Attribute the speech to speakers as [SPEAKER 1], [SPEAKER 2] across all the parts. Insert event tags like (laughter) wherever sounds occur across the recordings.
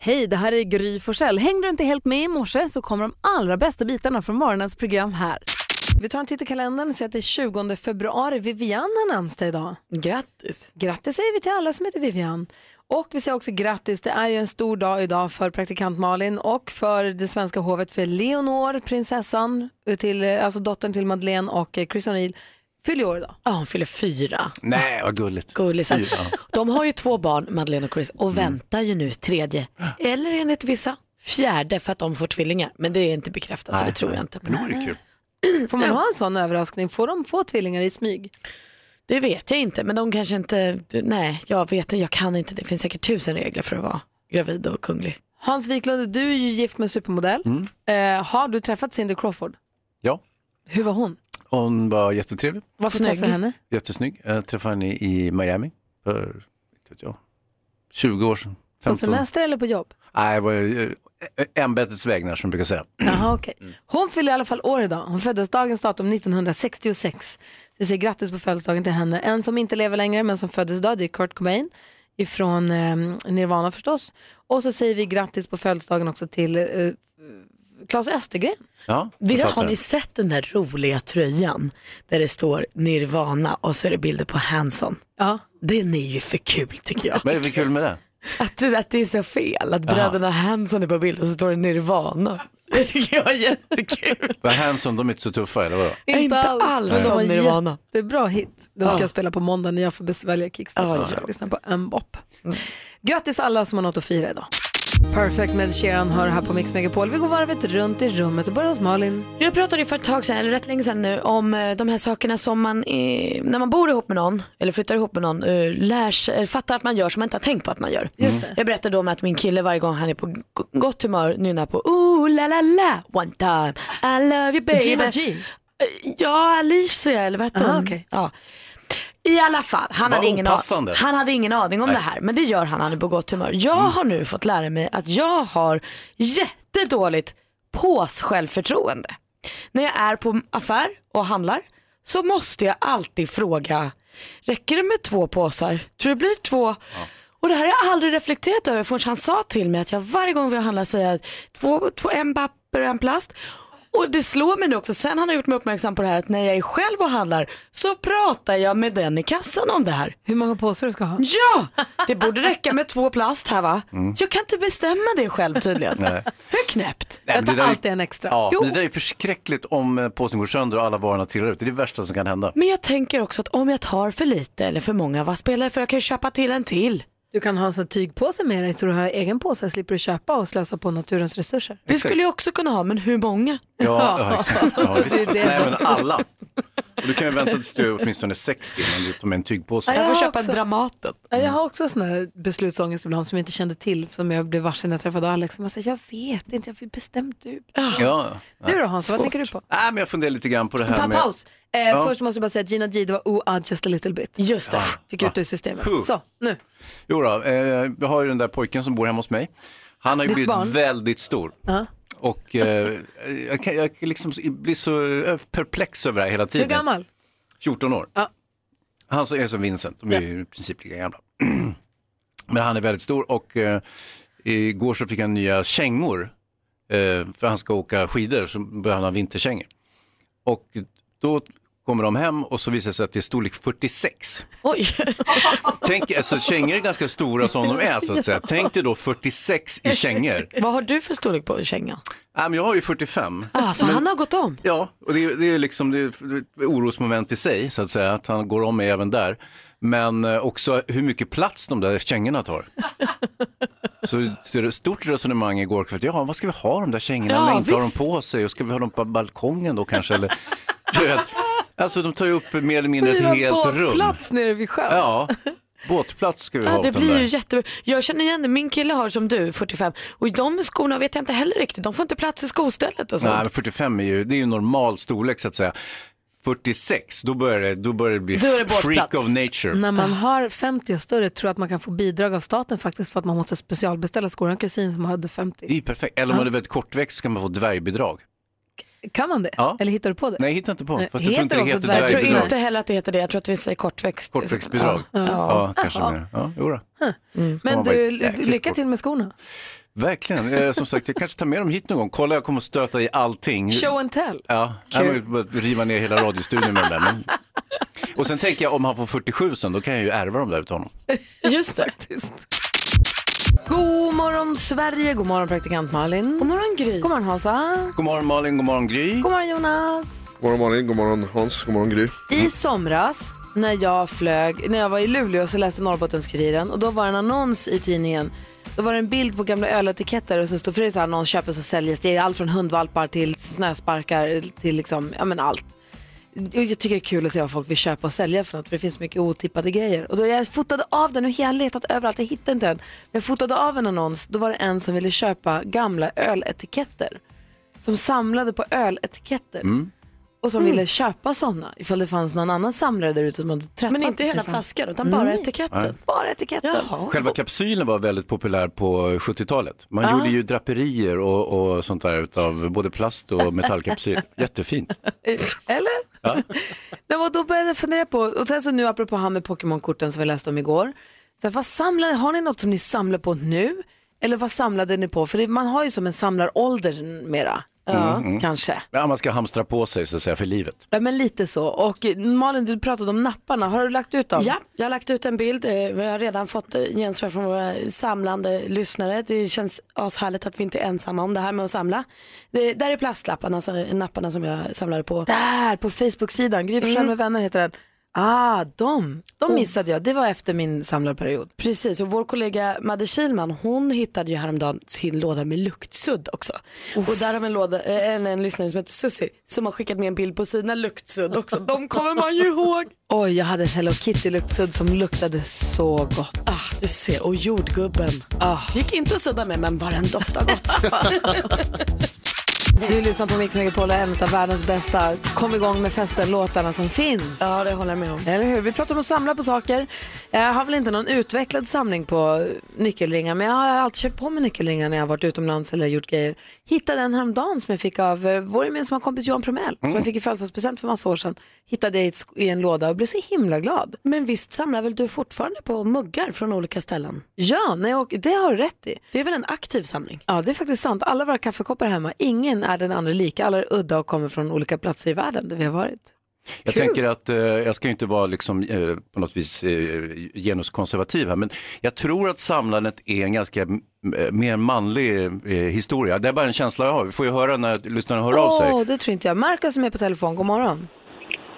[SPEAKER 1] Hej, det här är Gry Forssell. Hängde du inte helt med i morse så kommer de allra bästa bitarna från morgonens program här.
[SPEAKER 2] Vi tar en titt i kalendern och ser att det är 20 februari. Vivian har namnsdag idag.
[SPEAKER 3] Grattis!
[SPEAKER 2] Grattis säger vi till alla som heter Vivian. Och vi säger också grattis, det är ju en stor dag idag för praktikant Malin och för det svenska hovet för Leonor, prinsessan, till, alltså dottern till Madeleine och eh, Chris O'Neill, fyller år idag.
[SPEAKER 3] Ja, hon fyller fyra.
[SPEAKER 4] Nej, vad gulligt.
[SPEAKER 3] Gullisar.
[SPEAKER 4] Fyra.
[SPEAKER 3] De har ju två barn, Madeleine och Chris,
[SPEAKER 4] Mm.
[SPEAKER 3] och väntar ju nu tredje. Eller enligt vissa, fjärde för att de får tvillingar. Men det är inte bekräftat så det tror jag inte.
[SPEAKER 4] Men det vore kul.
[SPEAKER 2] (clears throat) Får man ha en sån överraskning? Får de få tvillingar i smyg?
[SPEAKER 3] Det vet jag inte, men de kanske inte, nej jag vet inte, jag kan inte. Det finns säkert tusen regler för att vara gravid och kunglig.
[SPEAKER 2] Hans Wiklund, du är ju gift med en supermodell.
[SPEAKER 4] Mm.
[SPEAKER 2] Eh, har du träffat Cindy Crawford?
[SPEAKER 4] Ja,
[SPEAKER 2] Hur var hon?
[SPEAKER 4] hon var jättetrevlig,
[SPEAKER 2] Varför
[SPEAKER 3] Snygg.
[SPEAKER 2] träffade du henne?
[SPEAKER 4] jättesnygg. Jag träffade henne i Miami för, inte vet jag, 20 år sedan.
[SPEAKER 2] På
[SPEAKER 4] 15.
[SPEAKER 2] semester eller på jobb?
[SPEAKER 4] Nej, det var ju, eh, ämbetets vägnar som jag brukar säga.
[SPEAKER 2] Jaha, okej. Hon fyller i alla fall år idag. Hon föddes dagens datum 1966. Vi säger grattis på födelsedagen till henne. En som inte lever längre men som föddes idag, det är Kurt Cobain ifrån eh, Nirvana förstås. Och så säger vi grattis på födelsedagen också till eh, Claes Östergren.
[SPEAKER 4] Ja, jag
[SPEAKER 3] Visst
[SPEAKER 4] satt
[SPEAKER 3] har
[SPEAKER 4] där.
[SPEAKER 3] ni sett den där roliga tröjan där det står Nirvana och så är det bilder på Hanson?
[SPEAKER 2] Ja.
[SPEAKER 3] Den är ju för kul tycker jag.
[SPEAKER 4] Vad är det för kul med det?
[SPEAKER 3] Att, att det är så fel, att bröderna Hanson är på bild och så står det Nirvana. Det tycker jag är jättekul.
[SPEAKER 4] Vad Hanson, de är inte så tuffa eller vadå?
[SPEAKER 3] Inte alls.
[SPEAKER 2] Det var
[SPEAKER 3] som Nirvana.
[SPEAKER 2] Det är bra hit. Den ska jag spela på måndag när jag får bes- välja Kickstarter. Jag ska lyssna på M-bop. Grattis alla som har något att fira idag. Perfect med Sheeran hör här på Mix Megapol. Vi går varvet runt i rummet och börjar hos Malin.
[SPEAKER 3] Jag pratade ju för ett tag sedan, eller rätt länge sedan nu, om eh, de här sakerna som man, eh, när man bor ihop med någon, eller flyttar ihop med någon, eh, lär sig, eller fattar att man gör som man inte har tänkt på att man gör. Mm.
[SPEAKER 2] Just det.
[SPEAKER 3] Jag berättade om att min kille varje gång han är på g- gott humör nynnar på ooh la la la one time I love you baby.
[SPEAKER 2] Gina G.
[SPEAKER 3] Eh, Ja, Alicia eller vad hette
[SPEAKER 2] Aha,
[SPEAKER 3] hon?
[SPEAKER 2] okej.
[SPEAKER 3] Ja. I alla fall, han
[SPEAKER 4] Vad
[SPEAKER 3] hade, ingen
[SPEAKER 4] opassande.
[SPEAKER 3] aning, han hade ingen aning om det här men det gör han, han är på gott humör. Jag har nu fått lära mig att jag har jättedåligt pås-självförtroende. När jag är på affär och handlar så måste jag alltid fråga, räcker det med två påsar? Tror det blir två? Och det här har jag aldrig reflekterat över förrän han sa till mig att jag varje gång vi handlar säger två, två, en papper och en plast. Och det slår mig nu också, sen han har gjort mig uppmärksam på det här att när jag är själv och handlar så pratar jag med den i kassan om det här.
[SPEAKER 2] Hur många påsar du ska ha?
[SPEAKER 3] Ja, det borde räcka med två plast här va?
[SPEAKER 4] Mm.
[SPEAKER 3] Jag kan inte bestämma det själv tydligen. Hur knäppt?
[SPEAKER 4] Nej, men
[SPEAKER 2] Jag tar
[SPEAKER 4] det där är-
[SPEAKER 2] alltid en extra.
[SPEAKER 4] Ja,
[SPEAKER 3] Jo.
[SPEAKER 4] men det där är förskräckligt om eh, påsen går sönder och alla varorna trillar ut. Det är det värsta som kan hända.
[SPEAKER 3] Men jag tänker också att om jag tar för lite eller för många, vad spelar det för? Jag kan ju köpa till en till.
[SPEAKER 2] Du kan ha en sån Alltså, tygpåse med dig så du har egen påse slipper du köpa och slösa på naturens resurser.
[SPEAKER 3] Det skulle jag också kunna ha, men hur många? (laughs)
[SPEAKER 4] Ja,
[SPEAKER 2] (laughs)
[SPEAKER 4] ja, exakt. ja visst.
[SPEAKER 2] Det är det.
[SPEAKER 4] Nej, men alla. Och du kan ju vänta tills du är åtminstone 60 innan du tar med en tygpåse.
[SPEAKER 2] Nej,
[SPEAKER 3] Jag
[SPEAKER 2] Jag
[SPEAKER 3] får
[SPEAKER 2] har
[SPEAKER 3] köpa
[SPEAKER 2] också.
[SPEAKER 3] Dramaten.
[SPEAKER 2] Ja, jag har också sån här beslutsångest ibland som jag inte kände till som jag blev varse när jag träffade Alex. Man säger, jag vet inte, jag fick bestämt du.
[SPEAKER 4] Ja.
[SPEAKER 2] Du då Hans, vad tänker du på?
[SPEAKER 4] Nej, men jag funderar lite grann på det här
[SPEAKER 2] Ta en
[SPEAKER 4] med...
[SPEAKER 2] paus. Eh, Först måste jag bara säga att Gina G, det var oh, uh, just a little bit.
[SPEAKER 3] Just det.
[SPEAKER 2] Fick ut det ur systemet.
[SPEAKER 4] Huh.
[SPEAKER 2] Så, nu.
[SPEAKER 4] Jo då, eh, vi har ju den där pojken som bor hemma hos mig. Han har ju
[SPEAKER 2] Ditt
[SPEAKER 4] blivit
[SPEAKER 2] barn?
[SPEAKER 4] väldigt stor. Och eh, jag, kan, jag kan liksom blir så eh, perplex över det här hela
[SPEAKER 2] Hur
[SPEAKER 4] tiden.
[SPEAKER 2] gammal?
[SPEAKER 4] 14 år.
[SPEAKER 2] Ja.
[SPEAKER 4] Han så är som Vincent, de är ju i princip lika gamla. (clears throat) Men han är väldigt stor och eh, igår så fick han nya kängor. Eh, för han ska åka skidor så behöver han ha vinterkängor. Och då kommer de hem och så visar det sig att det är
[SPEAKER 3] (laughs)
[SPEAKER 4] storlek 46.
[SPEAKER 3] Oj.
[SPEAKER 4] Tänk, alltså kängor är ganska stora som de är så att säga. Tänk dig då 46 i kängor.
[SPEAKER 3] (laughs) Vad har du för storlek på kängan?
[SPEAKER 4] Nej men jag har ju 45.
[SPEAKER 3] Ah, så han har gått om?
[SPEAKER 4] Ja, och det, är- det är liksom det är ett orosmoment i sig så att säga, att han går om mig även där. Men eh, också hur mycket plats de där
[SPEAKER 3] (laughs)
[SPEAKER 4] kängorna tar. Så det är ett stort resonemang igår kväll, ja vad ska vi ha de där kängorna om
[SPEAKER 3] Ja,
[SPEAKER 4] vi inte har dem
[SPEAKER 3] visst.
[SPEAKER 4] på sig och ska vi ha dem på balkongen då kanske? Eller, Du vet, alltså de tar ju upp mer eller mindre ett helt rum.
[SPEAKER 2] båtplats nere vid sjön.
[SPEAKER 4] Ja, båtplats ska vi ha
[SPEAKER 3] Ja,
[SPEAKER 4] åt
[SPEAKER 3] det
[SPEAKER 4] dem
[SPEAKER 3] blir
[SPEAKER 4] där.
[SPEAKER 3] ju jättebra. Jag känner igen det, min kille har som du, 45, och de skorna vet jag inte heller riktigt, de får inte plats i skostället och sånt.
[SPEAKER 4] Nej, men 45 är ju, det är ju normal storlek så att säga. 46, då börjar det, då börjar det bli
[SPEAKER 3] Då är det båtplats.
[SPEAKER 4] freak of nature.
[SPEAKER 2] När man har 50 och större tror jag att man kan få bidrag av staten faktiskt för att man måste specialbeställa skor. Jag har en kusin som hade 50.
[SPEAKER 4] Det är ju perfekt. Eller om man är väldigt kortväxt så kan man få dvärgbidrag.
[SPEAKER 2] Kan man det?
[SPEAKER 4] Ja.
[SPEAKER 2] Eller hittar du på det?
[SPEAKER 4] Nej, hittar inte på.
[SPEAKER 2] Nej,
[SPEAKER 4] Fast jag
[SPEAKER 2] heter
[SPEAKER 4] tror inte det
[SPEAKER 2] också
[SPEAKER 4] heter
[SPEAKER 3] jag tror
[SPEAKER 2] dvärgbidrag.
[SPEAKER 4] dvärgbidrag.
[SPEAKER 3] inte heller att det heter det, jag tror att vi säger kortväxt.
[SPEAKER 4] Kortväxtbidrag.
[SPEAKER 3] Ja.
[SPEAKER 4] Mm. Ja, kanske mer. Ja, jo då.
[SPEAKER 2] Men
[SPEAKER 4] man bara,
[SPEAKER 2] du,
[SPEAKER 4] jäkligt
[SPEAKER 2] lycka
[SPEAKER 4] kort.
[SPEAKER 2] till med skorna.
[SPEAKER 4] Verkligen. Eh, som sagt, jag kanske tar med dem hit någon gång. Kolla, jag kommer att stöta i allting.
[SPEAKER 2] Show and tell.
[SPEAKER 4] Ja, jag vill bara riva ner hela radiostudion med den där. Men... Och sen tänker jag om han får 47 sen, då kan jag ju ärva dem där utav honom.
[SPEAKER 3] Just det.
[SPEAKER 2] God morgon Sverige, god morgon praktikant Malin.
[SPEAKER 3] God morgon Gry.
[SPEAKER 2] God morgon Hansa.
[SPEAKER 4] God morgon Malin, god morgon Gry.
[SPEAKER 2] God morgon Jonas.
[SPEAKER 5] God morgon Malin, god morgon Hans, god morgon Gry.
[SPEAKER 2] I somras när jag flög, när jag var i Luleå så läste Norrbottenskuriren och då var det en annons i tidningen. Då var det en bild på gamla öletiketter och så stod det så här, någon köpes och säljs. Det är allt från hundvalpar till snösparkar till liksom, ja men allt. Jag jag tycker det är kul att se vad folk vill köpa och sälja för något, för det finns mycket otippade grejer. Och då jag fotade av den, och jag har letat överallt, jag hittade inte den. Men jag fotade av en annons, då var det en som ville köpa gamla öletiketter. Som samlade på öletiketter. Och som ville köpa sådana, ifall det fanns någon annan samlare där ute som hade träffat.
[SPEAKER 3] Men inte hela
[SPEAKER 2] precis han.
[SPEAKER 3] flaskan utan bara etiketten.
[SPEAKER 2] Bara etiketter.
[SPEAKER 4] Själva kapsylen var väldigt populär på 70-talet. Man gjorde ju draperier och, och sånt där utav både plast
[SPEAKER 2] (laughs)
[SPEAKER 4] och metallkapsyl. Jättefint.
[SPEAKER 2] Eller? det var då började jag fundera på, och sen så nu apropå han med Pokémon-korten som vi läste om igår. Så här, vad samlar, har ni något som ni samlar på nu? Eller vad samlade ni på? För det, man har ju som en samlarålder mera.
[SPEAKER 3] Mm,
[SPEAKER 2] Kanske.
[SPEAKER 4] Mm, Ja, man ska hamstra på sig så att säga för livet.
[SPEAKER 2] Ja, men lite så. Och eh, Malin, du pratade om napparna. Har du lagt ut dem?
[SPEAKER 3] Ja, jag har lagt ut en bild. eh, Vi har redan fått eh, gensvar från våra samlande lyssnare. Det känns ashärligt att vi inte är ensamma om det här med att samla. Det, där är plastlapparna, alltså napparna som jag samlade på. Mm.
[SPEAKER 2] Där, på Facebook-sidan. Gry Forssell med vänner heter den. Ah, de. De missade jag. Det var efter min samlarperiod.
[SPEAKER 3] Precis, och vår kollega Madde Kilman, hon hittade ju häromdagen sin låda med luktsudd också. Och där har vi en, låda, eh, en, en lyssnare som heter Susi som har skickat med en bild på sina luktsudd också. De kommer man ju ihåg.
[SPEAKER 2] (laughs) Oj, jag hade en Hello Kitty-luktsudd som luktade så gott.
[SPEAKER 3] Ah, du ser, och jordgubben.
[SPEAKER 2] Ah.
[SPEAKER 3] Gick inte att sudda med men bara en doft av gott.
[SPEAKER 2] Du lyssnar på Mix Megapol, en av världens bästa. Kom igång med festen, låtarna som finns.
[SPEAKER 3] ja, det håller jag med om.
[SPEAKER 2] Eller hur? Vi pratar om att samla på saker. Jag har väl inte någon utvecklad samling på nyckelringar, men jag har alltid köpt på mig nyckelringar när jag har varit utomlands eller gjort grejer. Hittade en häromdagen som jag fick av eh, vår gemensamma kompis Johan Promell, som jag fick i födelsedagspresent för massa år sedan. Hittade jag i, ett sk- i en låda och blev så himla glad.
[SPEAKER 3] Men visst samlar väl du fortfarande på muggar från olika ställen?
[SPEAKER 2] Ja, när jag åker, det har du rätt i.
[SPEAKER 3] Det är väl en aktiv samling?
[SPEAKER 2] Ja, det är faktiskt sant. Alla våra kaffekoppar hemma, ingen är den andra lika. Alla är udda och kommer från olika platser i världen där vi har varit.
[SPEAKER 4] Jag tänker att eh, jag ska ju inte vara liksom, eh, på något vis eh, genuskonservativ här, men jag tror att samlandet är en ganska m- eh, mer manlig eh, historia. Det är bara en känsla jag har. Vi får ju höra när lyssnarna hör av sig.
[SPEAKER 2] Åh, det tror inte jag. Marcus som är på telefon, god morgon.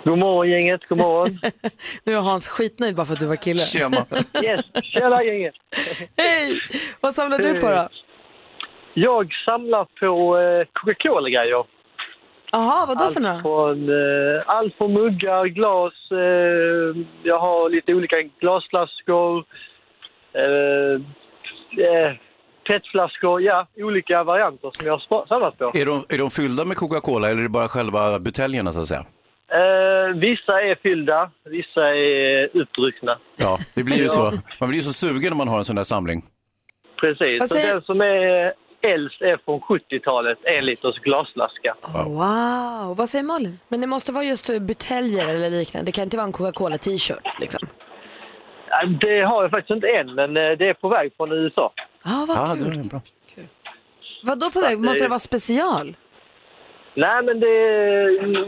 [SPEAKER 6] God morgon gänget, god morgon.
[SPEAKER 2] (laughs) Nu är Hans skitnöjd bara för att du var kille.
[SPEAKER 4] Tjena.
[SPEAKER 6] Yes, tjena gänget.
[SPEAKER 2] (laughs)
[SPEAKER 6] Eh,
[SPEAKER 2] Hej! Vad samlar du på då?
[SPEAKER 6] Jag samlar på eh, Coca-Cola-grejer.
[SPEAKER 2] Jaha, vad då för
[SPEAKER 6] Allt
[SPEAKER 2] några?
[SPEAKER 6] från, eh, allt från muggar, glas, eh, jag har lite olika glasflaskor, eh, eh, petflaskor, ja, olika varianter som jag har spa- samlat på.
[SPEAKER 4] Är de, är de fyllda med Coca-Cola eller är det bara själva buteljerna så att säga?
[SPEAKER 6] Eh, vissa är fyllda, vissa är utdruckna.
[SPEAKER 4] Ja, det blir ju så. Man blir ju så sugen när man har en sån där samling.
[SPEAKER 6] Precis,
[SPEAKER 2] Vad
[SPEAKER 6] och
[SPEAKER 2] säger-
[SPEAKER 6] den som är äldst är från 70-talet, en liters glasflaska.
[SPEAKER 2] Wow, vad säger Malin?
[SPEAKER 3] Men det måste vara just eh, buteljer eller liknande. Det kan inte vara en Coca-Cola t-shirt liksom.
[SPEAKER 6] Ja, Det har jag faktiskt inte än, men eh, det är på väg från USA.
[SPEAKER 2] Ja, vad
[SPEAKER 4] Ja,
[SPEAKER 2] kul.
[SPEAKER 4] det är bra.
[SPEAKER 2] Vad då på väg? Måste det vara special?
[SPEAKER 6] Nej, men det,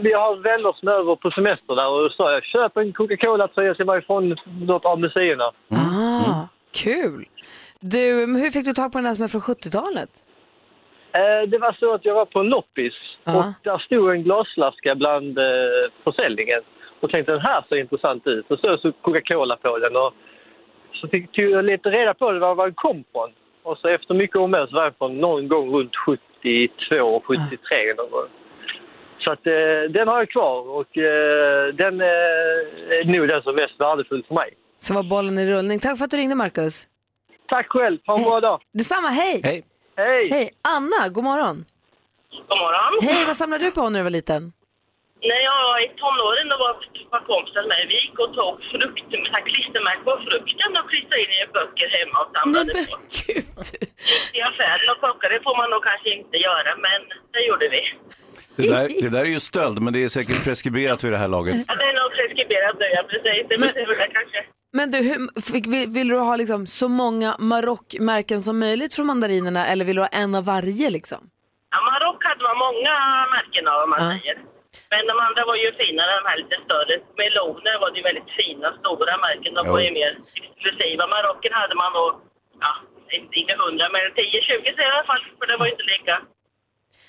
[SPEAKER 6] vi har vänner som är över på semester där och sa jag köp en Coca-Cola så jag ska vara ifrån något av museerna.
[SPEAKER 2] Ah, kul. Du, men hur fick du tag på den här som är från 70-talet?
[SPEAKER 6] Eh, det var så att jag var på en loppis
[SPEAKER 2] Ja.
[SPEAKER 6] och där stod en glasflaska bland eh, försäljningen och tänkte den här ser intressant ut. Och så stod Coca-Cola på den och så fick tog jag lite reda på det, var var den kom från. Och så efter mycket om och men så var den från någon gång runt 72, 73
[SPEAKER 2] Ah.
[SPEAKER 6] någon gång. Så att eh, den har jag kvar och eh, den eh, är nog den som är mest värdefull för mig.
[SPEAKER 2] Så var bollen i rullning. Tack för att du ringde Marcus.
[SPEAKER 6] Tack själv, ha en bra dag!
[SPEAKER 2] Detsamma, hej!
[SPEAKER 4] Hej.
[SPEAKER 6] Hej!
[SPEAKER 2] Hej, Anna, god morgon.
[SPEAKER 7] God morgon.
[SPEAKER 2] Hej, vad samlade du på när du var liten?
[SPEAKER 7] När jag var i tonåren då var var kompisen med. Vi gick och tog frukt, så här klistermärken på frukten och klistrade in i böcker hemma och
[SPEAKER 3] Nej
[SPEAKER 7] samlade
[SPEAKER 3] men
[SPEAKER 7] på.
[SPEAKER 3] gud!
[SPEAKER 7] I affären och plocka, det får man nog kanske inte göra, men det gjorde vi.
[SPEAKER 4] Det, där, det där är ju stöld, men det är säkert preskriberat vid det här laget.
[SPEAKER 7] Ja, det är nog preskriberat nu, ja, precis. Det
[SPEAKER 2] Men-
[SPEAKER 7] betyder det kanske.
[SPEAKER 2] Men du, hur, fick, vill, vill du ha liksom så många marockmärken som möjligt från mandarinerna eller vill du ha en av varje? Liksom?
[SPEAKER 7] Ja, Marock hade man många märken av om man
[SPEAKER 2] Ja.
[SPEAKER 7] säger. Men de andra var ju finare, de här lite större. Meloner var det ju väldigt fina, stora märken. De
[SPEAKER 4] Jo.
[SPEAKER 7] var ju mer exklusiva. Marocken hade man nog, ja, inte, inte hundra, men 10-20 i alla fall. För det var ju inte lika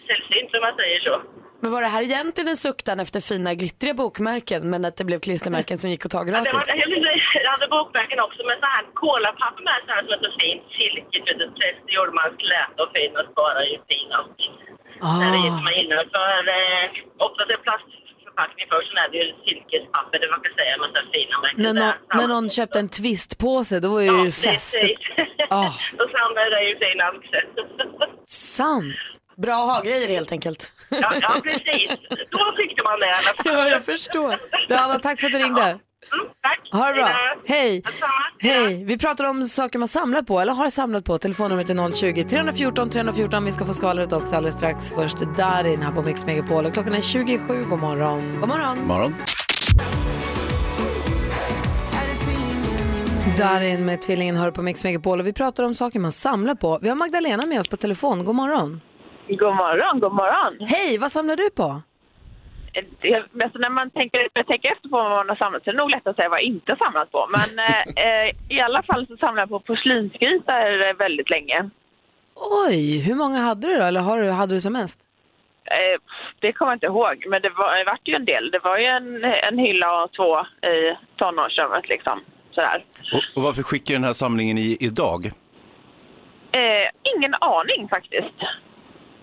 [SPEAKER 7] sällsynt som man säger så.
[SPEAKER 3] Men var det här egentligen en suktan efter fina glittriga bokmärken men att det blev klistermärken som gick att ta
[SPEAKER 7] Det
[SPEAKER 3] gratis?
[SPEAKER 7] var, jag vet inte, jag hade bokmärken också med så här kolapapper med så här som är så fint silkigt. vet du, Press, det gjorde man slät och fin och sparade ju fin och
[SPEAKER 2] Ah.
[SPEAKER 7] när det gick man innanför. Eh, oftast är plastförpackning först, sen är det ju silkespapper, det man kan säga, med så här fina märken.
[SPEAKER 2] När, någon,
[SPEAKER 7] där.
[SPEAKER 2] när någon köpte en twistpåse då var det ju fest.
[SPEAKER 7] precis.
[SPEAKER 2] Ah.
[SPEAKER 7] (laughs) Och samlade det ju fina också.
[SPEAKER 2] Sant.
[SPEAKER 3] Bra att ha grejer helt enkelt.
[SPEAKER 7] ja, ja, precis. Då tyckte man det i alla
[SPEAKER 2] (laughs)
[SPEAKER 7] fall.
[SPEAKER 3] ja, jag förstår.
[SPEAKER 2] Du, Anna, tack för att du ringde.
[SPEAKER 7] Mm, tack.
[SPEAKER 2] Ha det bra.
[SPEAKER 7] Hejdå.
[SPEAKER 2] Hej.
[SPEAKER 7] Detsamma.
[SPEAKER 2] Hej. Vi pratar om saker man samlar på eller har samlat på. Telefonnumret är 020 314 314. Vi ska få skvallret också alldeles strax. Först Darin här på Mix Megapol. Och klockan är 27. God morgon.
[SPEAKER 3] God morgon.
[SPEAKER 4] Morgon.
[SPEAKER 2] Darin med Tvillingen hör på Mix Megapol. Och vi pratar om saker man samlar på. Vi har Magdalena med oss på telefon. God morgon.
[SPEAKER 8] God morgon, god morgon.
[SPEAKER 2] Hej, vad samlar du på?
[SPEAKER 8] Det- Alltså när man tänker, jag tänker efter på vad man har samlat så är det nog lätt att säga vad jag inte har samlat på.
[SPEAKER 2] (laughs)
[SPEAKER 8] Men eh, eh, i alla fall så samlar jag på porslinsgrisar eh, väldigt länge.
[SPEAKER 2] Oj, hur många hade du då? Eller har du, hade du som mest?
[SPEAKER 8] Eh, pff, det kommer jag inte ihåg, men det, var, det vart ju en del. Det var ju en, en hylla och två i tonårsrummet liksom. Sådär.
[SPEAKER 4] Och, och varför skickar den här samlingen i, idag?
[SPEAKER 8] Eh, ingen aning faktiskt.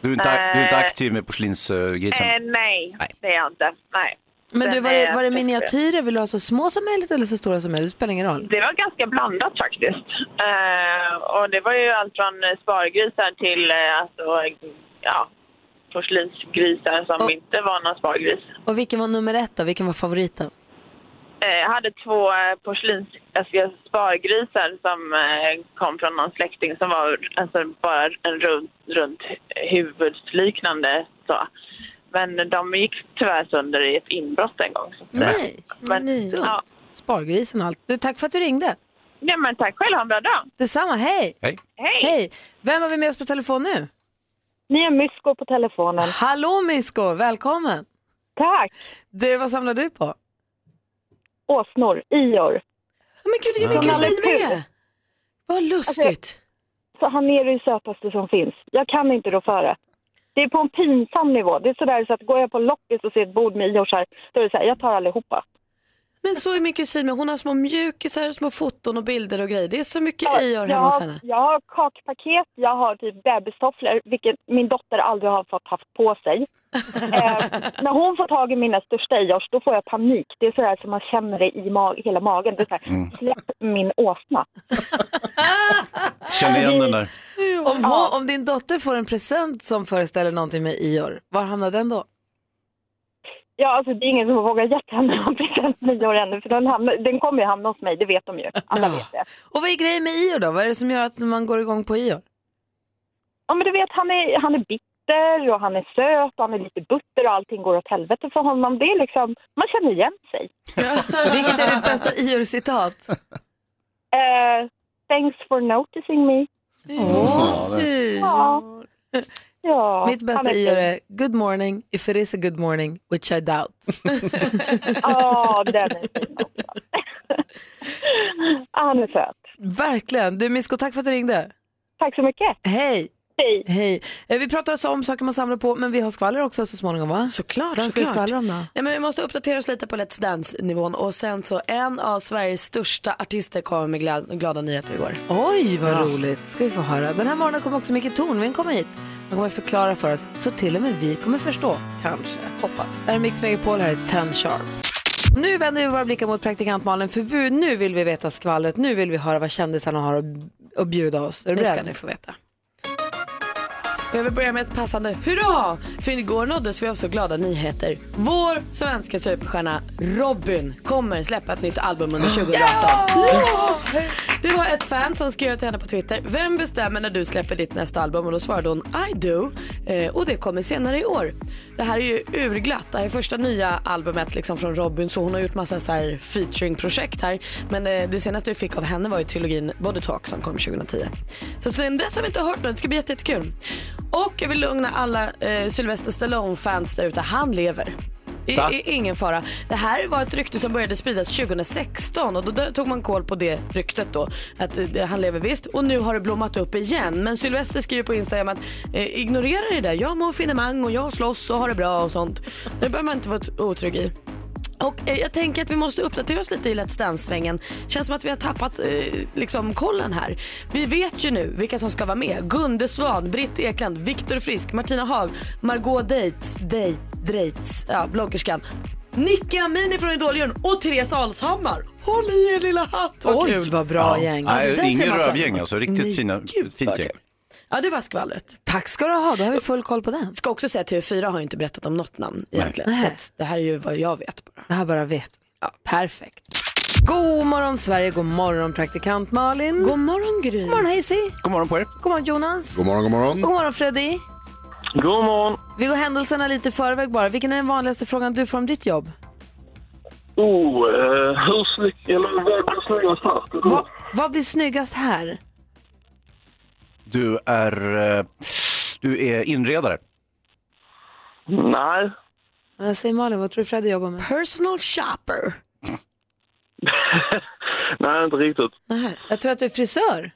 [SPEAKER 4] Du är inte, du är inte
[SPEAKER 8] Eh.
[SPEAKER 4] aktiv med porslinsgrisen?
[SPEAKER 8] Eh, nej,
[SPEAKER 4] Nej.
[SPEAKER 8] det är jag inte. Nej.
[SPEAKER 2] Men
[SPEAKER 8] Den
[SPEAKER 2] du, var det,
[SPEAKER 8] är-
[SPEAKER 2] var det miniatyrer? Vill du ha så små som möjligt eller så stora som möjligt? Det spelar ingen roll.
[SPEAKER 8] Det var ganska blandat faktiskt. Eh, och det var ju allt från eh, spargrisar till eh, alltså, ja, porslinsgrisar som
[SPEAKER 2] Och-
[SPEAKER 8] inte var någon spargris.
[SPEAKER 2] Och vilken var nummer ett då? Vilken var favoriten?
[SPEAKER 8] Eh, jag hade två eh, porslins, alltså, spargrisar som eh, kom från någon släkting som var alltså, bara en rund, runt huvudsliknande. Så. Men de gick tyvärr sönder i ett inbrott en gång. Så. att säga.
[SPEAKER 2] Nej,
[SPEAKER 8] Men,
[SPEAKER 3] Nej.
[SPEAKER 2] dumt.
[SPEAKER 8] ja.
[SPEAKER 2] Spargrisen och allt. Du, tack för att du ringde.
[SPEAKER 8] Ja, men tack själv, ha en bra dag.
[SPEAKER 2] Detsamma, hej!
[SPEAKER 4] Hej.
[SPEAKER 8] Hej!
[SPEAKER 2] Hej! Vem har vi med oss på telefon nu?
[SPEAKER 9] Ni har Mysko på telefonen.
[SPEAKER 2] Hallå Mysko, välkommen!
[SPEAKER 9] Tack!
[SPEAKER 2] Du, vad samlar du på?
[SPEAKER 9] Åsnor, Ior.
[SPEAKER 3] Men gud, det är min kusin med. Vad lustigt.
[SPEAKER 9] Alltså, Så han är det sötaste som finns. Jag kan inte rå för det. Det är på en pinsam nivå. Det är sådär så att går jag på loppis och ser ett bord med Ior då är det såhär, jag tar allihopa.
[SPEAKER 3] Men så är min kusin med. Hon har små mjukisar, små foton och bilder och grejer. Det är så mycket
[SPEAKER 9] Jag,
[SPEAKER 3] ior
[SPEAKER 9] jag,
[SPEAKER 3] hemma hos
[SPEAKER 9] har,
[SPEAKER 3] henne.
[SPEAKER 9] jag har kakpaket, jag har typ bebistofflor, vilket min dotter aldrig har fått haft på sig. eh, när hon får tag i mina största Iors, då får jag panik. Det är sådär som man känner det i ma- hela magen. Det är såhär,
[SPEAKER 4] Mm.
[SPEAKER 9] släpp min åsna.
[SPEAKER 4] Känner igen den där.
[SPEAKER 2] Om, hon, om din dotter får en present som föreställer någonting med Ior, var hamnar den då?
[SPEAKER 9] Ja, alltså det är ingen som vågar gett henne någon present nio år ännu, för den, hamnar, den kommer ju hamna hos mig, det vet de ju. Alla
[SPEAKER 2] Ja.
[SPEAKER 9] vet det.
[SPEAKER 2] Och vad är grejen med Ior då? Vad är det som gör att man går igång på Ior?
[SPEAKER 9] Ja, men du vet, han är, han är bitter och han är söt och han är lite butter och allting går åt helvete för honom. Det är liksom, man känner igen sig.
[SPEAKER 2] (laughs) Vilket är ditt bästa Ior-citat?
[SPEAKER 9] Eh, thanks for noticing me.
[SPEAKER 4] Ja, det-
[SPEAKER 9] Ja. Ja,
[SPEAKER 2] Mitt
[SPEAKER 9] han
[SPEAKER 2] bästa
[SPEAKER 9] är
[SPEAKER 2] Ior
[SPEAKER 9] fin.
[SPEAKER 2] är good morning if it is a good morning, which I doubt.
[SPEAKER 9] (laughs) Ja, den är fin också. Ja, han är söt.
[SPEAKER 2] Verkligen. Du Misko, tack för att du ringde.
[SPEAKER 9] Tack så mycket.
[SPEAKER 2] Hej!
[SPEAKER 9] Hej.
[SPEAKER 2] Hej. Eh, Vi pratar alltså om saker man samlar på, men vi har skvaller också så småningom va?
[SPEAKER 3] Såklart,
[SPEAKER 2] Vem ska vi
[SPEAKER 3] såklart.
[SPEAKER 2] skvallra om då?
[SPEAKER 3] Nej, men vi måste uppdatera oss lite på Let's Dance-nivån och sen så en av Sveriges största artister kom med glad, glada nyheter igår.
[SPEAKER 2] Oj, vad roligt. Ska vi få höra. Den här morgonen kommer också Micke Tornving komma hit. Han kommer förklara för oss, så till och med vi kommer förstå. Kanske. Hoppas. Här är Mix Megapol, här är 10 Sharp. Nu vänder vi våra blickar mot praktikant Malin, för vi, nu vill vi veta skvallret. Nu vill vi höra vad kändisarna har att, att bjuda oss. Är du
[SPEAKER 3] Det ska
[SPEAKER 2] beredd?
[SPEAKER 3] ni få veta. Jag vill börja med ett passande hurra! För igår nåddes vi av så glada nyheter. Vår svenska superstjärna Robin kommer släppa ett nytt album under 2018. Det var ett fan som skrev till henne på Twitter. Vem bestämmer när du släpper ditt nästa album? Och då svarade hon I do. Eh, och det kommer senare i år. Det här är ju urglatt. Det här är första nya albumet liksom från Robin. Så hon har gjort massa så här featuring-projekt här. Men eh, det senaste vi fick av henne var ju trilogin Body Talk som kom 2010. Så sen dess Alltså, har vi inte hört något. Det ska bli jätte- jättekul. Och jag vill lugna alla eh, Sylvester Stallone-fans där ute. Han lever. Det
[SPEAKER 4] Va?
[SPEAKER 3] är ingen fara. Det här var ett rykte som började spridas 2016 och då dö- tog man koll på det ryktet då. Att eh, det- han lever visst och nu har det blommat upp igen. Men Sylvester skriver på Instagram att eh, ignorera det där. Jag mår finemang och jag slåss och har det bra och sånt. Det behöver man inte vara t- otrygg i. Och eh, jag tänker att vi måste uppdatera oss lite i Let's Dance-svängen. Känns som att vi har tappat eh, liksom kollen här. Vi vet ju nu vilka som ska vara med. Gunde Svan, Britt Ekland, Viktor Frisk, Martina Haag, Margot Deitz, Deit, Dreitz, ja, bloggerskan. Nicky Amini från Idoljuryn och Therese Alshammar. Håll i er lilla hatt, vad
[SPEAKER 2] Oj,
[SPEAKER 3] kul.
[SPEAKER 2] vad bra gäng.
[SPEAKER 3] Ja, det där ser
[SPEAKER 4] Nej, ingen
[SPEAKER 3] man fram
[SPEAKER 4] rövgäng
[SPEAKER 3] emot.
[SPEAKER 4] alltså, riktigt
[SPEAKER 3] Nej,
[SPEAKER 4] fina,
[SPEAKER 3] gud,
[SPEAKER 4] fint
[SPEAKER 3] vad
[SPEAKER 4] gäng.
[SPEAKER 3] kul. Ja, det var skvallret.
[SPEAKER 2] Tack ska du ha, då har vi full koll på den.
[SPEAKER 3] Ska också säga att TV4 har ju inte berättat om något namn egentligen.
[SPEAKER 2] Nej.
[SPEAKER 3] Så att det här är ju vad jag vet bara.
[SPEAKER 2] Det här bara vet vi. Perfekt. God morgon Sverige, god morgon praktikant Malin. God
[SPEAKER 3] God morgon Gry.
[SPEAKER 2] morgon Hazy.
[SPEAKER 4] God morgon på er.
[SPEAKER 2] God morgon Jonas.
[SPEAKER 5] God morgon, god morgon.
[SPEAKER 2] God morgon Freddy.
[SPEAKER 6] God morgon!
[SPEAKER 2] Vi går händelserna lite i förväg bara. Vilken är den vanligaste frågan du får om ditt jobb?
[SPEAKER 6] Oh, eh, hur snygg... Eller vad blir snyggast här?
[SPEAKER 2] Va, vad blir snyggast här?
[SPEAKER 4] Du är, eh, du är inredare.
[SPEAKER 6] Nej.
[SPEAKER 2] Jag säger Malin, vad tror du Freddy jobbar med?
[SPEAKER 3] Personal shopper.
[SPEAKER 6] Nej, inte riktigt.
[SPEAKER 2] Jag tror att du är frisör.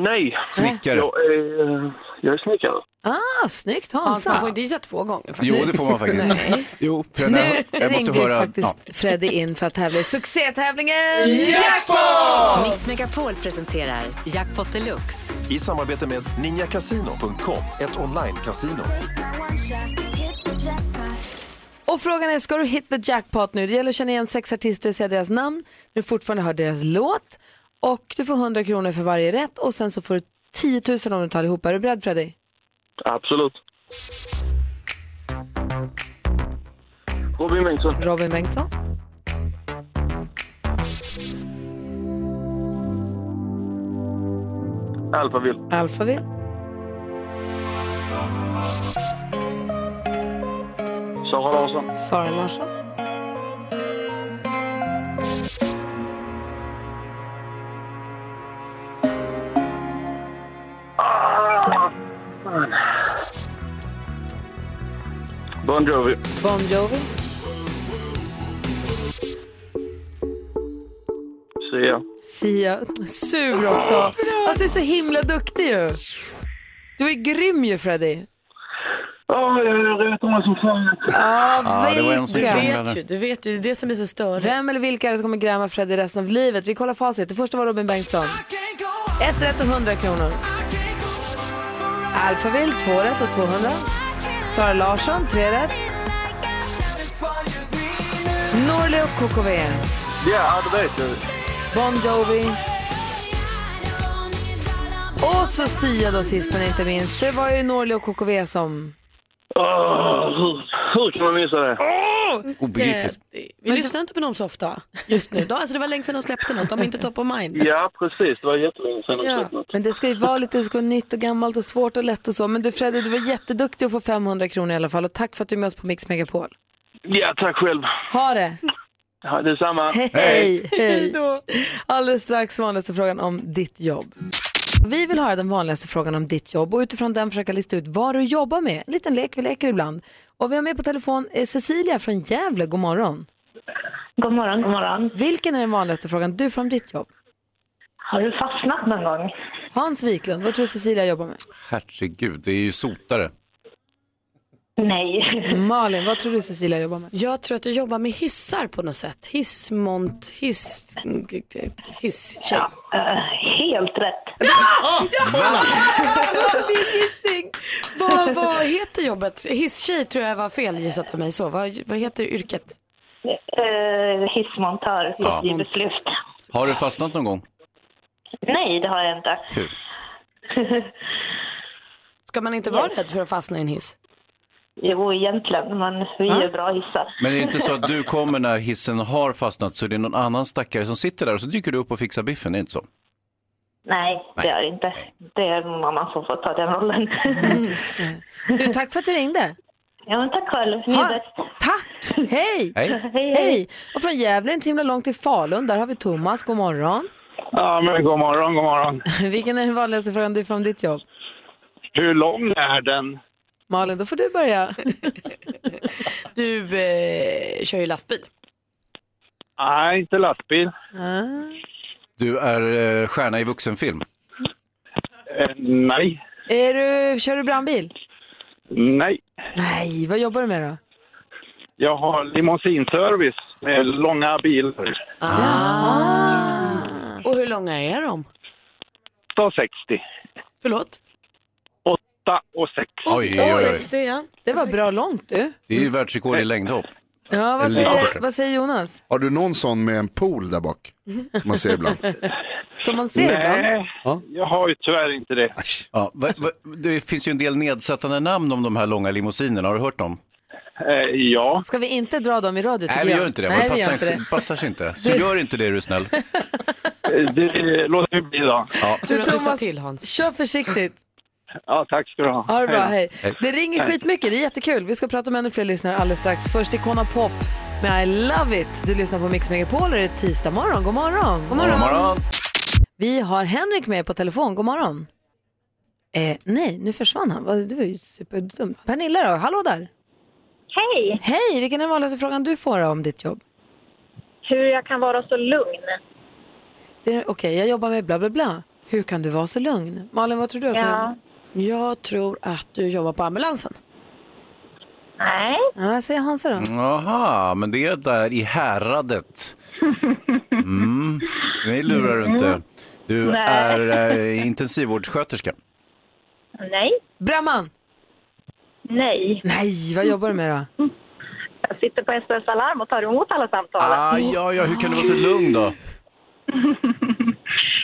[SPEAKER 6] Nej,
[SPEAKER 4] Snickare.
[SPEAKER 6] jag är, eh, jag är snickare.
[SPEAKER 2] Ah, snyggt
[SPEAKER 3] Man
[SPEAKER 2] Hansa.
[SPEAKER 3] får inte gissa två gånger faktiskt.
[SPEAKER 4] Jo, det får man faktiskt. Jo, för (laughs) jag-
[SPEAKER 2] Nu
[SPEAKER 4] jag
[SPEAKER 2] ringde
[SPEAKER 4] måste
[SPEAKER 2] ju
[SPEAKER 4] höra.
[SPEAKER 2] faktiskt
[SPEAKER 4] Ja.
[SPEAKER 2] Freddy in för att tävla i succétävlingen
[SPEAKER 1] Mix Megapol presenterar Jackpot Deluxe.
[SPEAKER 10] I samarbete med ninjakasino.com, ett online-casino.
[SPEAKER 2] Och frågan är, ska du hit the jackpot nu? Det gäller att känna igen sex artister och säga deras namn. Du fortfarande hör deras låt. Och du får 100 kronor för varje rätt och sen så får du 10 000 om du tar ihop. Är du beredd Freddy?
[SPEAKER 6] Absolut. Robin Bengtsson.
[SPEAKER 2] Robin Bengtsson.
[SPEAKER 6] Alphaville.
[SPEAKER 2] Alphaville.
[SPEAKER 6] Sara Larsson.
[SPEAKER 2] Sara Larsson.
[SPEAKER 7] Ah!
[SPEAKER 6] Bon Jovi.
[SPEAKER 2] Bon Jovi.
[SPEAKER 6] Sia.
[SPEAKER 2] Sia. Sur också. Alltså du är så himla duktig ju. Du är grym ju Freddy.
[SPEAKER 6] Ja, jag vet om vad som fan.
[SPEAKER 2] Ja,
[SPEAKER 4] Ja, det var en som
[SPEAKER 2] vilka.
[SPEAKER 3] Du
[SPEAKER 4] kom.
[SPEAKER 3] vet ju, du vet ju. Det är det som är så störigt.
[SPEAKER 2] Vem eller vilka är det som kommer gräma Freddy resten av livet? Vi kollar facit. Det första var Robin Bengtsson. Ett rätt och 100 kronor. Alphaville, två rätt och 200. Sara Larsson, tre rätt. Norli och KKV.
[SPEAKER 6] Ja, det vet jag.
[SPEAKER 2] Bon Jovi. Och så Sia då sist men inte minst. Det var ju Norli och KKV som...
[SPEAKER 6] Åh, Ah, hur, hur kan man missa det?
[SPEAKER 4] Obegripligt.
[SPEAKER 3] Vi lyssnar inte på dem så ofta just nu. Då, alltså, det var länge sedan de släppte något. De är inte top of mind.
[SPEAKER 6] Ja, precis. Det var jättelänge sedan jag
[SPEAKER 3] Ja.
[SPEAKER 6] sett något.
[SPEAKER 2] Men det ska ju vara lite det ska vara nytt och gammalt och svårt och lätt och så. Men du Freddy, du var jätteduktig att få 500 kronor i alla fall. Och tack för att du är med oss på Mix Megapol.
[SPEAKER 6] Ja, tack själv.
[SPEAKER 2] Ha det!
[SPEAKER 6] Ja, detsamma.
[SPEAKER 2] Hej! Hej! Alldeles strax vanligaste frågan om ditt jobb. Vi vill höra den vanligaste frågan om ditt jobb och utifrån den försöka lista ut vad du jobbar med. En liten lek vi leker ibland. Och vi har med på telefon eh, Cecilia från Gävle. God morgon.
[SPEAKER 9] God morgon, god morgon.
[SPEAKER 2] Vilken är den vanligaste frågan du får om ditt jobb?
[SPEAKER 9] Har du fastnat någon gång?
[SPEAKER 2] Hans Wiklund, vad tror du Cecilia jobbar med?
[SPEAKER 4] Herregud, det är ju sotare.
[SPEAKER 9] Nej.
[SPEAKER 2] Malin, vad tror du Cecilia jobbar med?
[SPEAKER 3] Jag tror att du jobbar med hissar på något sätt. Hissmont, hiss... Hisstjej.
[SPEAKER 9] Eh, helt rätt.
[SPEAKER 3] Vad, vad heter jobbet? Hisstjej tror jag var fel gissat av mig så. Vad, vad heter yrket?
[SPEAKER 9] Uh, hissmontör på Livets Luft.
[SPEAKER 4] Har du fastnat någon gång?
[SPEAKER 9] Nej, det har jag inte.
[SPEAKER 3] Eh,
[SPEAKER 4] Hur?
[SPEAKER 3] (laughs) Ska man inte vara rädd för att fastna i en hiss?
[SPEAKER 11] Jo, egentligen, men vi är ju bra hissar.
[SPEAKER 4] Men är
[SPEAKER 11] (laughs)
[SPEAKER 4] det inte så att du kommer när hissen har fastnat så det är någon annan stackare som sitter där och så dyker du upp och fixar biffen, är det inte så?
[SPEAKER 11] Nej, det är det inte. Det är mamma som får ta den rollen. (laughs)
[SPEAKER 2] Du, tack för att du ringde.
[SPEAKER 11] Ja, men tack själv.
[SPEAKER 2] Ni är bäst. Tack!
[SPEAKER 4] (laughs)
[SPEAKER 2] Hej!
[SPEAKER 6] Hej.
[SPEAKER 2] Hej! Och från Gävle, inte så himla långt till Falun, där har vi Thomas. God morgon. (laughs)
[SPEAKER 12] Ja, men god morgon, god morgon.
[SPEAKER 2] Vilken är den vanligaste frågan du får om ditt jobb?
[SPEAKER 12] Hur lång är den?
[SPEAKER 2] Malin, då får du börja.
[SPEAKER 3] Du eh, kör ju lastbil.
[SPEAKER 12] Nej, inte lastbil.
[SPEAKER 2] Ah.
[SPEAKER 4] Du är eh, stjärna i vuxenfilm.
[SPEAKER 12] Eh, nej.
[SPEAKER 2] Är du, kör du brandbil?
[SPEAKER 12] Nej,
[SPEAKER 2] Nej, vad jobbar du med då?
[SPEAKER 12] jag har limousinservice med långa bilar.
[SPEAKER 3] Och hur långa är de?
[SPEAKER 12] 8,60.
[SPEAKER 3] Förlåt?
[SPEAKER 12] 8 och 6.
[SPEAKER 4] Oj, oj, oj.
[SPEAKER 2] Det var bra långt du.
[SPEAKER 4] Det är ju världsrekord i längdhopp.
[SPEAKER 2] Ja, vad
[SPEAKER 5] Eller lite
[SPEAKER 2] säger,
[SPEAKER 5] kortare.
[SPEAKER 2] vad säger Jonas?
[SPEAKER 5] Har du någon sån med en pool där bak? Som man ser ibland.
[SPEAKER 2] (laughs) Som man ser ibland.
[SPEAKER 12] Nej, jag har ju tyvärr inte det.
[SPEAKER 4] Ja, va, va, det finns ju en del nedsättande namn om de här långa limousinerna, har du hört dem?
[SPEAKER 12] Eh, ja.
[SPEAKER 2] Ska vi inte dra dem i radio tycker
[SPEAKER 4] Nej, vi
[SPEAKER 2] jag?
[SPEAKER 4] gör inte det.
[SPEAKER 2] Nej,
[SPEAKER 4] det
[SPEAKER 2] vi gör
[SPEAKER 4] passar,
[SPEAKER 2] inte det.
[SPEAKER 4] passar sig inte. Så
[SPEAKER 2] Du-
[SPEAKER 4] gör inte det, är du snäll.
[SPEAKER 12] (laughs) Det låter vi bli då.
[SPEAKER 4] Ja.
[SPEAKER 2] Du, Thomas, kör försiktigt.
[SPEAKER 12] Ja, tack ska du ha.
[SPEAKER 2] Ha det bra, hej. Det ringer
[SPEAKER 12] Hej.
[SPEAKER 2] skitmycket, det är jättekul. Vi ska prata med ännu fler lyssnare alldeles strax. Först Icona Pop med I Love It. Du lyssnar på Mix Megapol och det är tisdag morgon. God morgon.
[SPEAKER 3] God morgon. God morgon.
[SPEAKER 2] Vi har Henrik med på telefon. God morgon. Eh, nej, nu försvann han. Vad- Det var ju superdumt. Pernilla då, hallå där.
[SPEAKER 13] Hej!
[SPEAKER 2] Hej, vilken är den vanligaste frågan du får om ditt jobb?
[SPEAKER 13] Hur jag kan vara så lugn.
[SPEAKER 2] Det är- Okej, jag jobbar med bla bla bla. Hur kan du vara så lugn? Malin, vad tror du? att du
[SPEAKER 13] Ja.
[SPEAKER 2] jobbar med?
[SPEAKER 3] Jag tror att du jobbar på ambulansen.
[SPEAKER 13] Nej.
[SPEAKER 2] Ja, säger Hansa då.
[SPEAKER 4] Jaha, men det är där i häradet. Mm. Nej, lurar du inte. Du
[SPEAKER 13] Nej.
[SPEAKER 4] är eh, intensivvårdssköterska.
[SPEAKER 13] Nej.
[SPEAKER 2] Bramman!
[SPEAKER 13] Nej.
[SPEAKER 2] Nej, vad jobbar du med då?
[SPEAKER 13] Jag sitter på SOS Alarm och tar emot alla samtalen.
[SPEAKER 4] Ah, ja, ja, hur kan du vara så lugn då?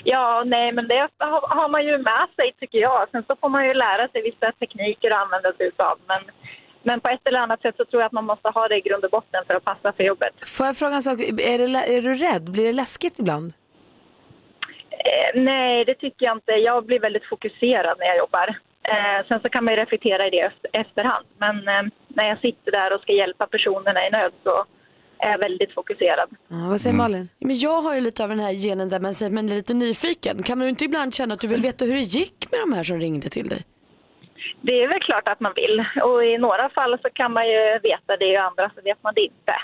[SPEAKER 13] Ja, nej, men det har har man ju med sig tycker jag. Sen så får man ju lära sig vissa tekniker att använda sig utav. Men, men på ett eller annat sätt så tror jag att man måste ha det i grund och botten för att passa för jobbet.
[SPEAKER 2] Får jag fråga en sak? Är, det, lä- är du rädd? Blir det läskigt ibland?
[SPEAKER 13] Eh, nej, det tycker jag inte. Jag blir väldigt fokuserad när jag jobbar. Eh, sen så kan man ju reflektera i det efter- efterhand. Men eh, när jag sitter där och ska hjälpa personerna i nöd så är jag väldigt fokuserad.
[SPEAKER 2] vad säger Malin?
[SPEAKER 3] Men jag har ju lite av den här genen där man säger man är lite nyfiken. Kan du inte ibland känna att du vill veta hur det gick med de här som ringde till dig?
[SPEAKER 13] Det är väl klart att man vill. Och i några fall så kan man ju veta det och i andra så vet man det inte.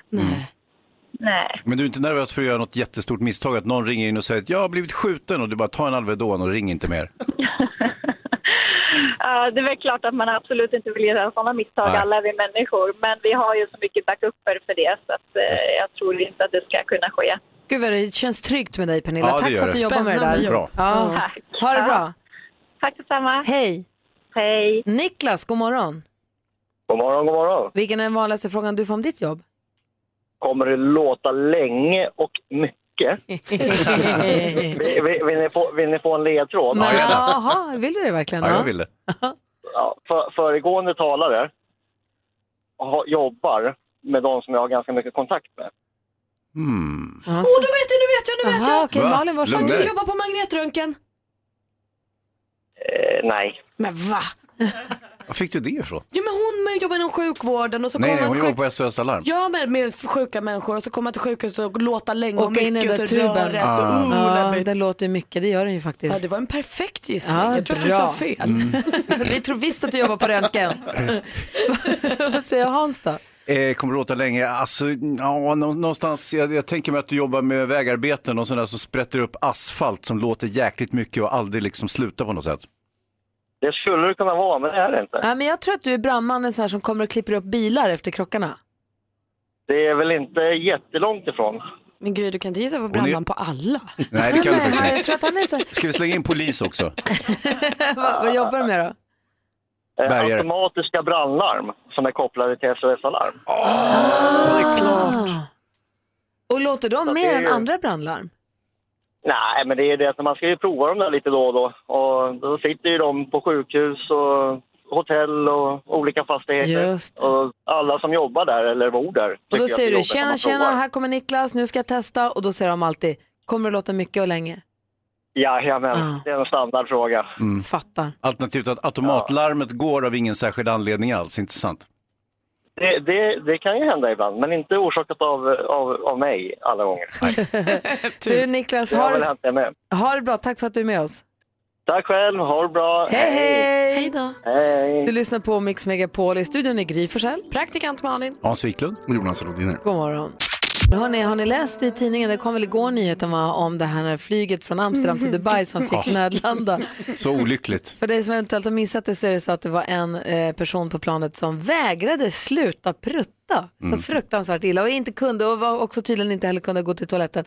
[SPEAKER 13] Nej.
[SPEAKER 4] Men du är inte nervös för att göra något jättestort misstag, att någon ringer in och säger att jag har blivit skjuten och du bara ta en Alvedon och ring inte mer.
[SPEAKER 13] Ja, det är väl klart att man absolut inte vill göra sådana misstag.
[SPEAKER 4] Nej.
[SPEAKER 13] Alla är vi människor. Men vi har ju så mycket backuper för det så att, eh, jag tror inte att det ska kunna ske.
[SPEAKER 2] Gud vad det känns tryggt med dig Pernilla.
[SPEAKER 13] Ja, det
[SPEAKER 2] Tack
[SPEAKER 13] gör
[SPEAKER 2] för att du
[SPEAKER 13] det.
[SPEAKER 2] jobbar med det
[SPEAKER 13] Spännande
[SPEAKER 2] där.
[SPEAKER 4] Bra.
[SPEAKER 13] jobb.
[SPEAKER 2] Ja.
[SPEAKER 13] Tack.
[SPEAKER 2] Ha det bra.
[SPEAKER 13] Tack detsamma.
[SPEAKER 2] Hej.
[SPEAKER 13] Hej.
[SPEAKER 2] Niklas, god morgon.
[SPEAKER 14] God morgon, god morgon.
[SPEAKER 2] Vilken är den vanligaste frågan du får om ditt jobb?
[SPEAKER 14] Kommer det låta länge och
[SPEAKER 2] (laughs)
[SPEAKER 14] mycket? vill, vill, vill, ni få, vill ni få en ledtråd?
[SPEAKER 2] Nej. Jaha, vill du det verkligen? Ja,
[SPEAKER 4] ville.
[SPEAKER 14] Ja, för, föregående talare har, jobbar med de som jag har ganska mycket kontakt med.
[SPEAKER 4] Mm.
[SPEAKER 2] Åh,
[SPEAKER 3] nu vet jag, nu vet jag, nu vet
[SPEAKER 2] Aha,
[SPEAKER 3] jag!
[SPEAKER 2] okej, Va? Malin,
[SPEAKER 3] Att
[SPEAKER 2] varsågod. Lugna
[SPEAKER 3] du
[SPEAKER 2] dig.
[SPEAKER 3] jobbar på magnetröntgen.
[SPEAKER 14] Eh, nej.
[SPEAKER 3] Men va?
[SPEAKER 4] Var fick du det ifrån?
[SPEAKER 3] Jo men hon men jobbar inom sjukvården och så
[SPEAKER 4] nej,
[SPEAKER 3] kommer man
[SPEAKER 4] nej, hon
[SPEAKER 3] till
[SPEAKER 4] jobbar
[SPEAKER 3] sjuk...
[SPEAKER 4] på SOS Alarm.
[SPEAKER 3] Ja men med sjuka människor och så kommer man till sjukhuset och låta länge och
[SPEAKER 2] Åka in i
[SPEAKER 3] mycket
[SPEAKER 2] den
[SPEAKER 3] och
[SPEAKER 2] där
[SPEAKER 3] så
[SPEAKER 2] tuben.
[SPEAKER 3] röret och
[SPEAKER 14] Ah.
[SPEAKER 3] oh,
[SPEAKER 2] ja,
[SPEAKER 3] läbbigt.
[SPEAKER 2] den låter ju mycket, det gör den ju faktiskt.
[SPEAKER 3] Ja, det var en perfekt gissning.
[SPEAKER 2] Ja,
[SPEAKER 3] jag tror att du
[SPEAKER 2] bra.
[SPEAKER 3] sa fel.
[SPEAKER 14] Mm.
[SPEAKER 2] (laughs)
[SPEAKER 4] Mm.
[SPEAKER 2] Vi tror visst att du jobbar på
[SPEAKER 14] (laughs)
[SPEAKER 2] röntgen. Vad säger Hans då?
[SPEAKER 4] Eh, kommer det låta länge? Alltså, ja, nå- någonstans, jag, jag tänker mig att du jobbar med vägarbeten och sådär så sprätter du upp asfalt som låter jäkligt mycket och aldrig liksom slutar på något sätt.
[SPEAKER 14] Det skulle det kunna vara, men det är det inte.
[SPEAKER 2] Ja, men jag tror att du är brandmannen så här som kommer och klipper upp bilar efter krockarna.
[SPEAKER 14] Det är väl inte jättelångt ifrån.
[SPEAKER 3] Men Gry, du kan inte gissa på brandman på alla.
[SPEAKER 4] Nej, det kan du faktiskt
[SPEAKER 2] Jag
[SPEAKER 4] inte.
[SPEAKER 2] tror att han är så här,
[SPEAKER 4] Ska vi slänga in polis också?
[SPEAKER 2] vad, vad jobbar du med då?
[SPEAKER 14] Eh,
[SPEAKER 4] Bergare.
[SPEAKER 14] automatiska brandlarm som är kopplade till SOS Alarm.
[SPEAKER 2] Ah. Och låter de
[SPEAKER 14] Så
[SPEAKER 2] mer
[SPEAKER 14] det är
[SPEAKER 2] än
[SPEAKER 14] ju-
[SPEAKER 2] andra brandlarm?
[SPEAKER 14] Nej, men det är det att man ska ju prova dem där lite då och då. Och då sitter ju de på sjukhus och hotell och olika fastigheter.
[SPEAKER 2] Just
[SPEAKER 14] Och alla som jobbar där eller bor där.
[SPEAKER 2] Och
[SPEAKER 14] tycker
[SPEAKER 2] då
[SPEAKER 14] att
[SPEAKER 2] säger du
[SPEAKER 14] det är jobbigt när
[SPEAKER 2] tjena
[SPEAKER 14] man
[SPEAKER 2] tjena,
[SPEAKER 14] provar.
[SPEAKER 2] här kommer Niklas, nu ska jag testa och då säger de alltid kommer det låta mycket och länge?
[SPEAKER 14] Jajamän,
[SPEAKER 2] Ah.
[SPEAKER 14] det är en standardfråga.
[SPEAKER 4] Mm.
[SPEAKER 2] Fattar.
[SPEAKER 4] Alternativt att automatlarmet går av ingen särskild anledning alls, inte sant?
[SPEAKER 14] Det, det, det kan ju hända ibland, men inte orsakat av, av, av mig alla gånger.
[SPEAKER 2] (laughs) Du Niklas,
[SPEAKER 14] Det har
[SPEAKER 2] ha
[SPEAKER 14] väl
[SPEAKER 2] det,
[SPEAKER 14] hänt det med.
[SPEAKER 2] ha det bra, tack för att du är med oss.
[SPEAKER 14] Tack själv, ha det bra.
[SPEAKER 2] Hej hej!
[SPEAKER 14] Hej.
[SPEAKER 2] Du lyssnar på Mix Megapol, i studion är Gry Forssell.
[SPEAKER 15] Praktikant Malin.
[SPEAKER 4] Hans Wiklund.
[SPEAKER 3] Mm.
[SPEAKER 5] Jonas Rodiner.
[SPEAKER 2] God morgon. Hörrni, har ni läst i tidningen, det kom väl igår nyheten va, om det här när flyget från
[SPEAKER 15] (laughs)
[SPEAKER 2] Amsterdam till Dubai som fick
[SPEAKER 4] Ja.
[SPEAKER 2] nödlanda.
[SPEAKER 4] Så olyckligt.
[SPEAKER 2] För dig som eventuellt har missat det så är det så att det var en eh, person på planet som vägrade sluta prutta så
[SPEAKER 16] Mm.
[SPEAKER 2] fruktansvärt illa och inte kunde och var också tydligen inte heller kunde gå till toaletten.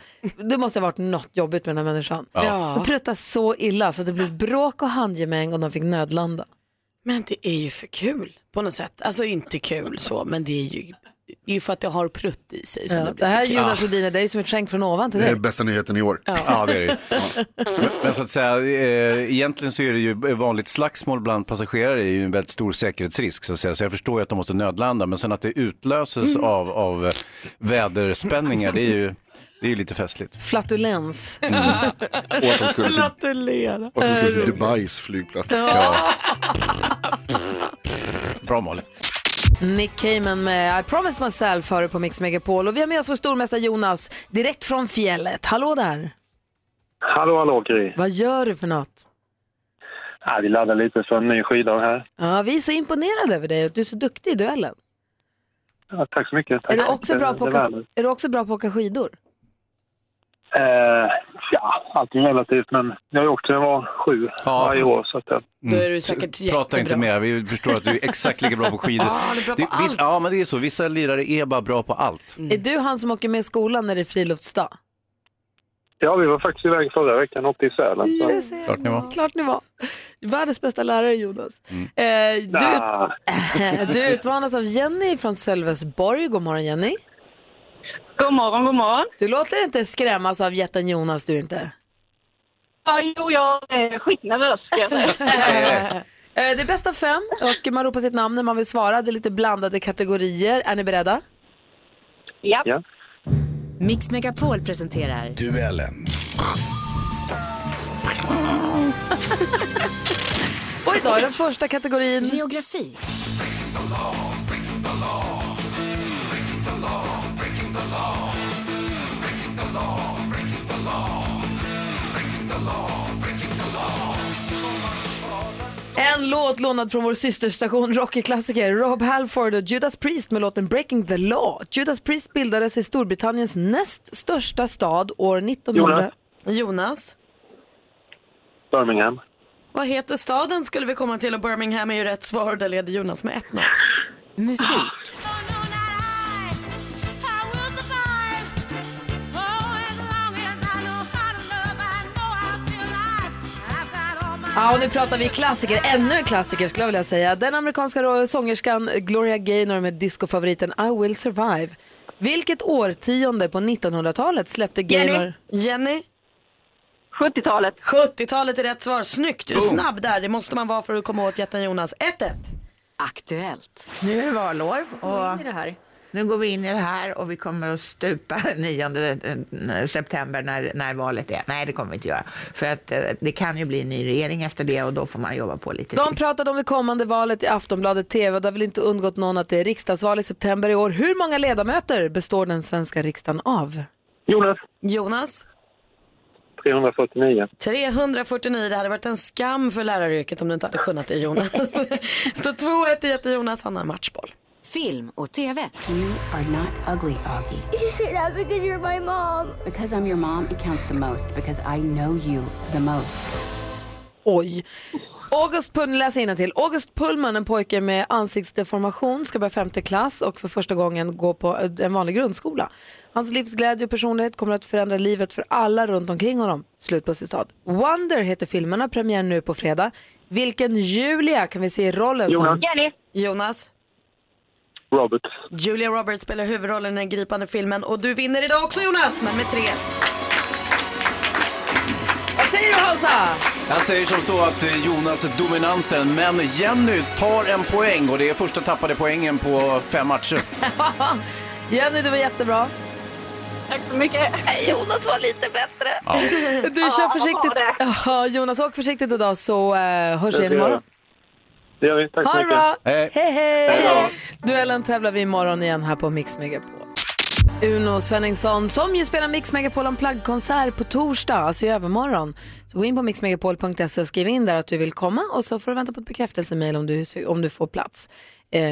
[SPEAKER 2] Det måste ha varit något jobbigt med den här människan.
[SPEAKER 16] Ja. Ja.
[SPEAKER 2] Hon pruttade så illa så att det blev bråk och handgemäng och de fick nödlanda.
[SPEAKER 3] (laughs) Men det är ju för kul på något sätt. Alltså inte kul så, men det är ju, det är ju för att det har prutt i sig som
[SPEAKER 2] Ja,
[SPEAKER 3] det
[SPEAKER 2] Eh, det
[SPEAKER 3] blir
[SPEAKER 2] här
[SPEAKER 3] så kul.
[SPEAKER 2] Jonas Rhodin, det är ju som ett skänk från ovan till
[SPEAKER 5] Det är
[SPEAKER 2] dig.
[SPEAKER 5] bästa nyheten i år.
[SPEAKER 4] Ja, det är det Men- Men så att säga, eh, egentligen så är det ju vanligt slagsmål bland passagerare är ju en väldigt stor säkerhetsrisk så att säga. Så jag förstår ju att de måste nödlanda, men sen att det utlöses av, av eh, väderspänningar, det är ju, det är ju lite festligt.
[SPEAKER 2] Flatulens.
[SPEAKER 5] Och att de skulle till-
[SPEAKER 3] Gratulera.
[SPEAKER 5] Och att de skulle till Dubais flygplats.
[SPEAKER 2] Ja.
[SPEAKER 4] (laughs) Bra Malin.
[SPEAKER 2] Nick Cayman med I promise myself hör du på Mix Megapol och vi har med oss vår stormästare Jonas direkt från fjället. Hallå där!
[SPEAKER 12] Hallå, hallå Gry.
[SPEAKER 2] Vad gör du för något?
[SPEAKER 12] Ja, vi laddar lite för en ny skida här.
[SPEAKER 2] Ja, vi är så imponerade över dig och du är så duktig i duellen.
[SPEAKER 12] Ja, tack så mycket. Tack
[SPEAKER 2] Är du,
[SPEAKER 12] så
[SPEAKER 2] också
[SPEAKER 12] mycket.
[SPEAKER 2] bra på
[SPEAKER 12] Det
[SPEAKER 2] att åka,
[SPEAKER 12] värmer.
[SPEAKER 2] är du också bra på att åka skidor?
[SPEAKER 12] Eh, ja, allt är relativt, men jag har åkt sedan jag var sju varje år. Så att jag...
[SPEAKER 3] Då är du säkert
[SPEAKER 4] Mm. Prata inte
[SPEAKER 3] jättebra.
[SPEAKER 4] mer, vi förstår att du är exakt lika bra på skidor.
[SPEAKER 2] Ja, du är bra på Mm.
[SPEAKER 4] vissa, ja, men det är så, vissa lirare är bara bra på allt.
[SPEAKER 2] Är du han som åker med i skolan när det är friluftsdag?
[SPEAKER 12] (laughs) Ja, vi var faktiskt iväg förra veckan uppe i Sälen. Så.
[SPEAKER 2] Jag ser.
[SPEAKER 4] Klart ni var.
[SPEAKER 2] Klart ni var. (laughs) Världens bästa lärare Jonas.
[SPEAKER 4] Mm.
[SPEAKER 2] Eh, du,
[SPEAKER 12] Ah,
[SPEAKER 2] (laughs) du utmanas av Jenny från Sölvesborg. God morgon Jenny.
[SPEAKER 8] God morgon, god morgon.
[SPEAKER 2] Du låter inte skrämmas av jätten Jonas du inte.
[SPEAKER 8] Ja, jo, jag är skitnervös. ska jag säga.
[SPEAKER 2] (laughs) Eh, Det är bäst av fem och man ropar sitt namn när man vill svara. Det är lite blandade kategorier. Är ni beredda?
[SPEAKER 8] Ja.
[SPEAKER 12] ja.
[SPEAKER 17] Mix Megapol presenterar...
[SPEAKER 18] Duellen.
[SPEAKER 2] (laughs) Och idag är Mm. den första kategorin... Geografi. En låt lånad från vår systerstation Rocky-klassiker Rob Halford och Judas Priest med låten Breaking the Law. Judas Priest bildades i Storbritanniens näst största stad år 1900...
[SPEAKER 3] Jonas,
[SPEAKER 12] Birmingham.
[SPEAKER 3] vad heter staden skulle vi komma till och Birmingham är ju rätt svar. Där leder Jonas med 1-0.
[SPEAKER 17] Musik.
[SPEAKER 2] Ah, Ja, och nu pratar vi klassiker. Ännu en klassiker skulle jag vilja säga. Den amerikanska ro- sångerskan Gloria Gaynor med discofavoriten I will survive. Vilket årtionde på 1900-talet släppte Gaynor...
[SPEAKER 3] Jenny?
[SPEAKER 8] 70-talet.
[SPEAKER 3] 70-talet är rätt svar. Snyggt, du är
[SPEAKER 2] Boom.
[SPEAKER 3] snabb där. Det måste man vara för att komma åt jätten Jonas. 1-1.
[SPEAKER 9] Aktuellt. Nu är det valår och nu går vi in i det här och vi kommer att stupa (laughs) den 9 september när, när valet är. Nej, det kommer vi inte göra. För att eh, det kan ju bli en ny regering efter det och då får man jobba på lite
[SPEAKER 2] De pratade om det kommande valet i Aftonbladet TV och det har väl inte undgått någon att det är riksdagsval i september i år. Hur många ledamöter består den svenska riksdagen av?
[SPEAKER 12] Jonas.
[SPEAKER 3] Jonas?
[SPEAKER 12] 349.
[SPEAKER 3] 349, det hade varit en skam för läraryrket om du inte hade kunnat det Jonas. Så 2-1 i jätten Jonas, han har matchboll.
[SPEAKER 17] Film och TV. You are not ugly, Augie.
[SPEAKER 19] You just say that because you're my mom.
[SPEAKER 17] Because I'm your mom, it counts the most. Because I know you the most.
[SPEAKER 2] Oj. August Pullman, läs till. August Pullman, en pojke med ansiktsdeformation, ska börja femte klass och för första gången gå på eh, en vanlig grundskola. Hans livsglädje och personlighet kommer att förändra livet för alla runt omkring honom. Slut på citat. Wonder heter filmerna, premiär nu på fredag. Vilken Julia kan vi se i rollen som...
[SPEAKER 3] Jenny. Alltså, Jonas.
[SPEAKER 12] Robert.
[SPEAKER 3] Julia Roberts spelar huvudrollen i den gripande filmen och du vinner idag också Jonas, men med 3-1.
[SPEAKER 2] Vad säger du Hansa!
[SPEAKER 4] Jag säger som så att eh, Jonas är dominanten, men Jenny tar en poäng och det är första tappade poängen på fem matcher.
[SPEAKER 2] (laughs) Jenny, du var jättebra.
[SPEAKER 20] Tack så mycket.
[SPEAKER 2] Jonas var lite bättre.
[SPEAKER 4] Ja.
[SPEAKER 2] Du kör försiktigt. Ja, Jonas, åk försiktigt idag så eh, hörs vi igen imorgon.
[SPEAKER 12] Det gör vi. Tack
[SPEAKER 2] Ha det bra. Hej,
[SPEAKER 12] Hej då.
[SPEAKER 2] hej. Duellen tävlar vi imorgon igen här på Mix Megapol. Uno Svenningsson som ju spelar Mix Megapol Unplugged-konsert på torsdag, alltså i övermorgon. Så gå in på mixmegapol.se och skriv in där att du vill komma och så får du vänta på ett bekräftelsemail om du, om du får plats. Eh,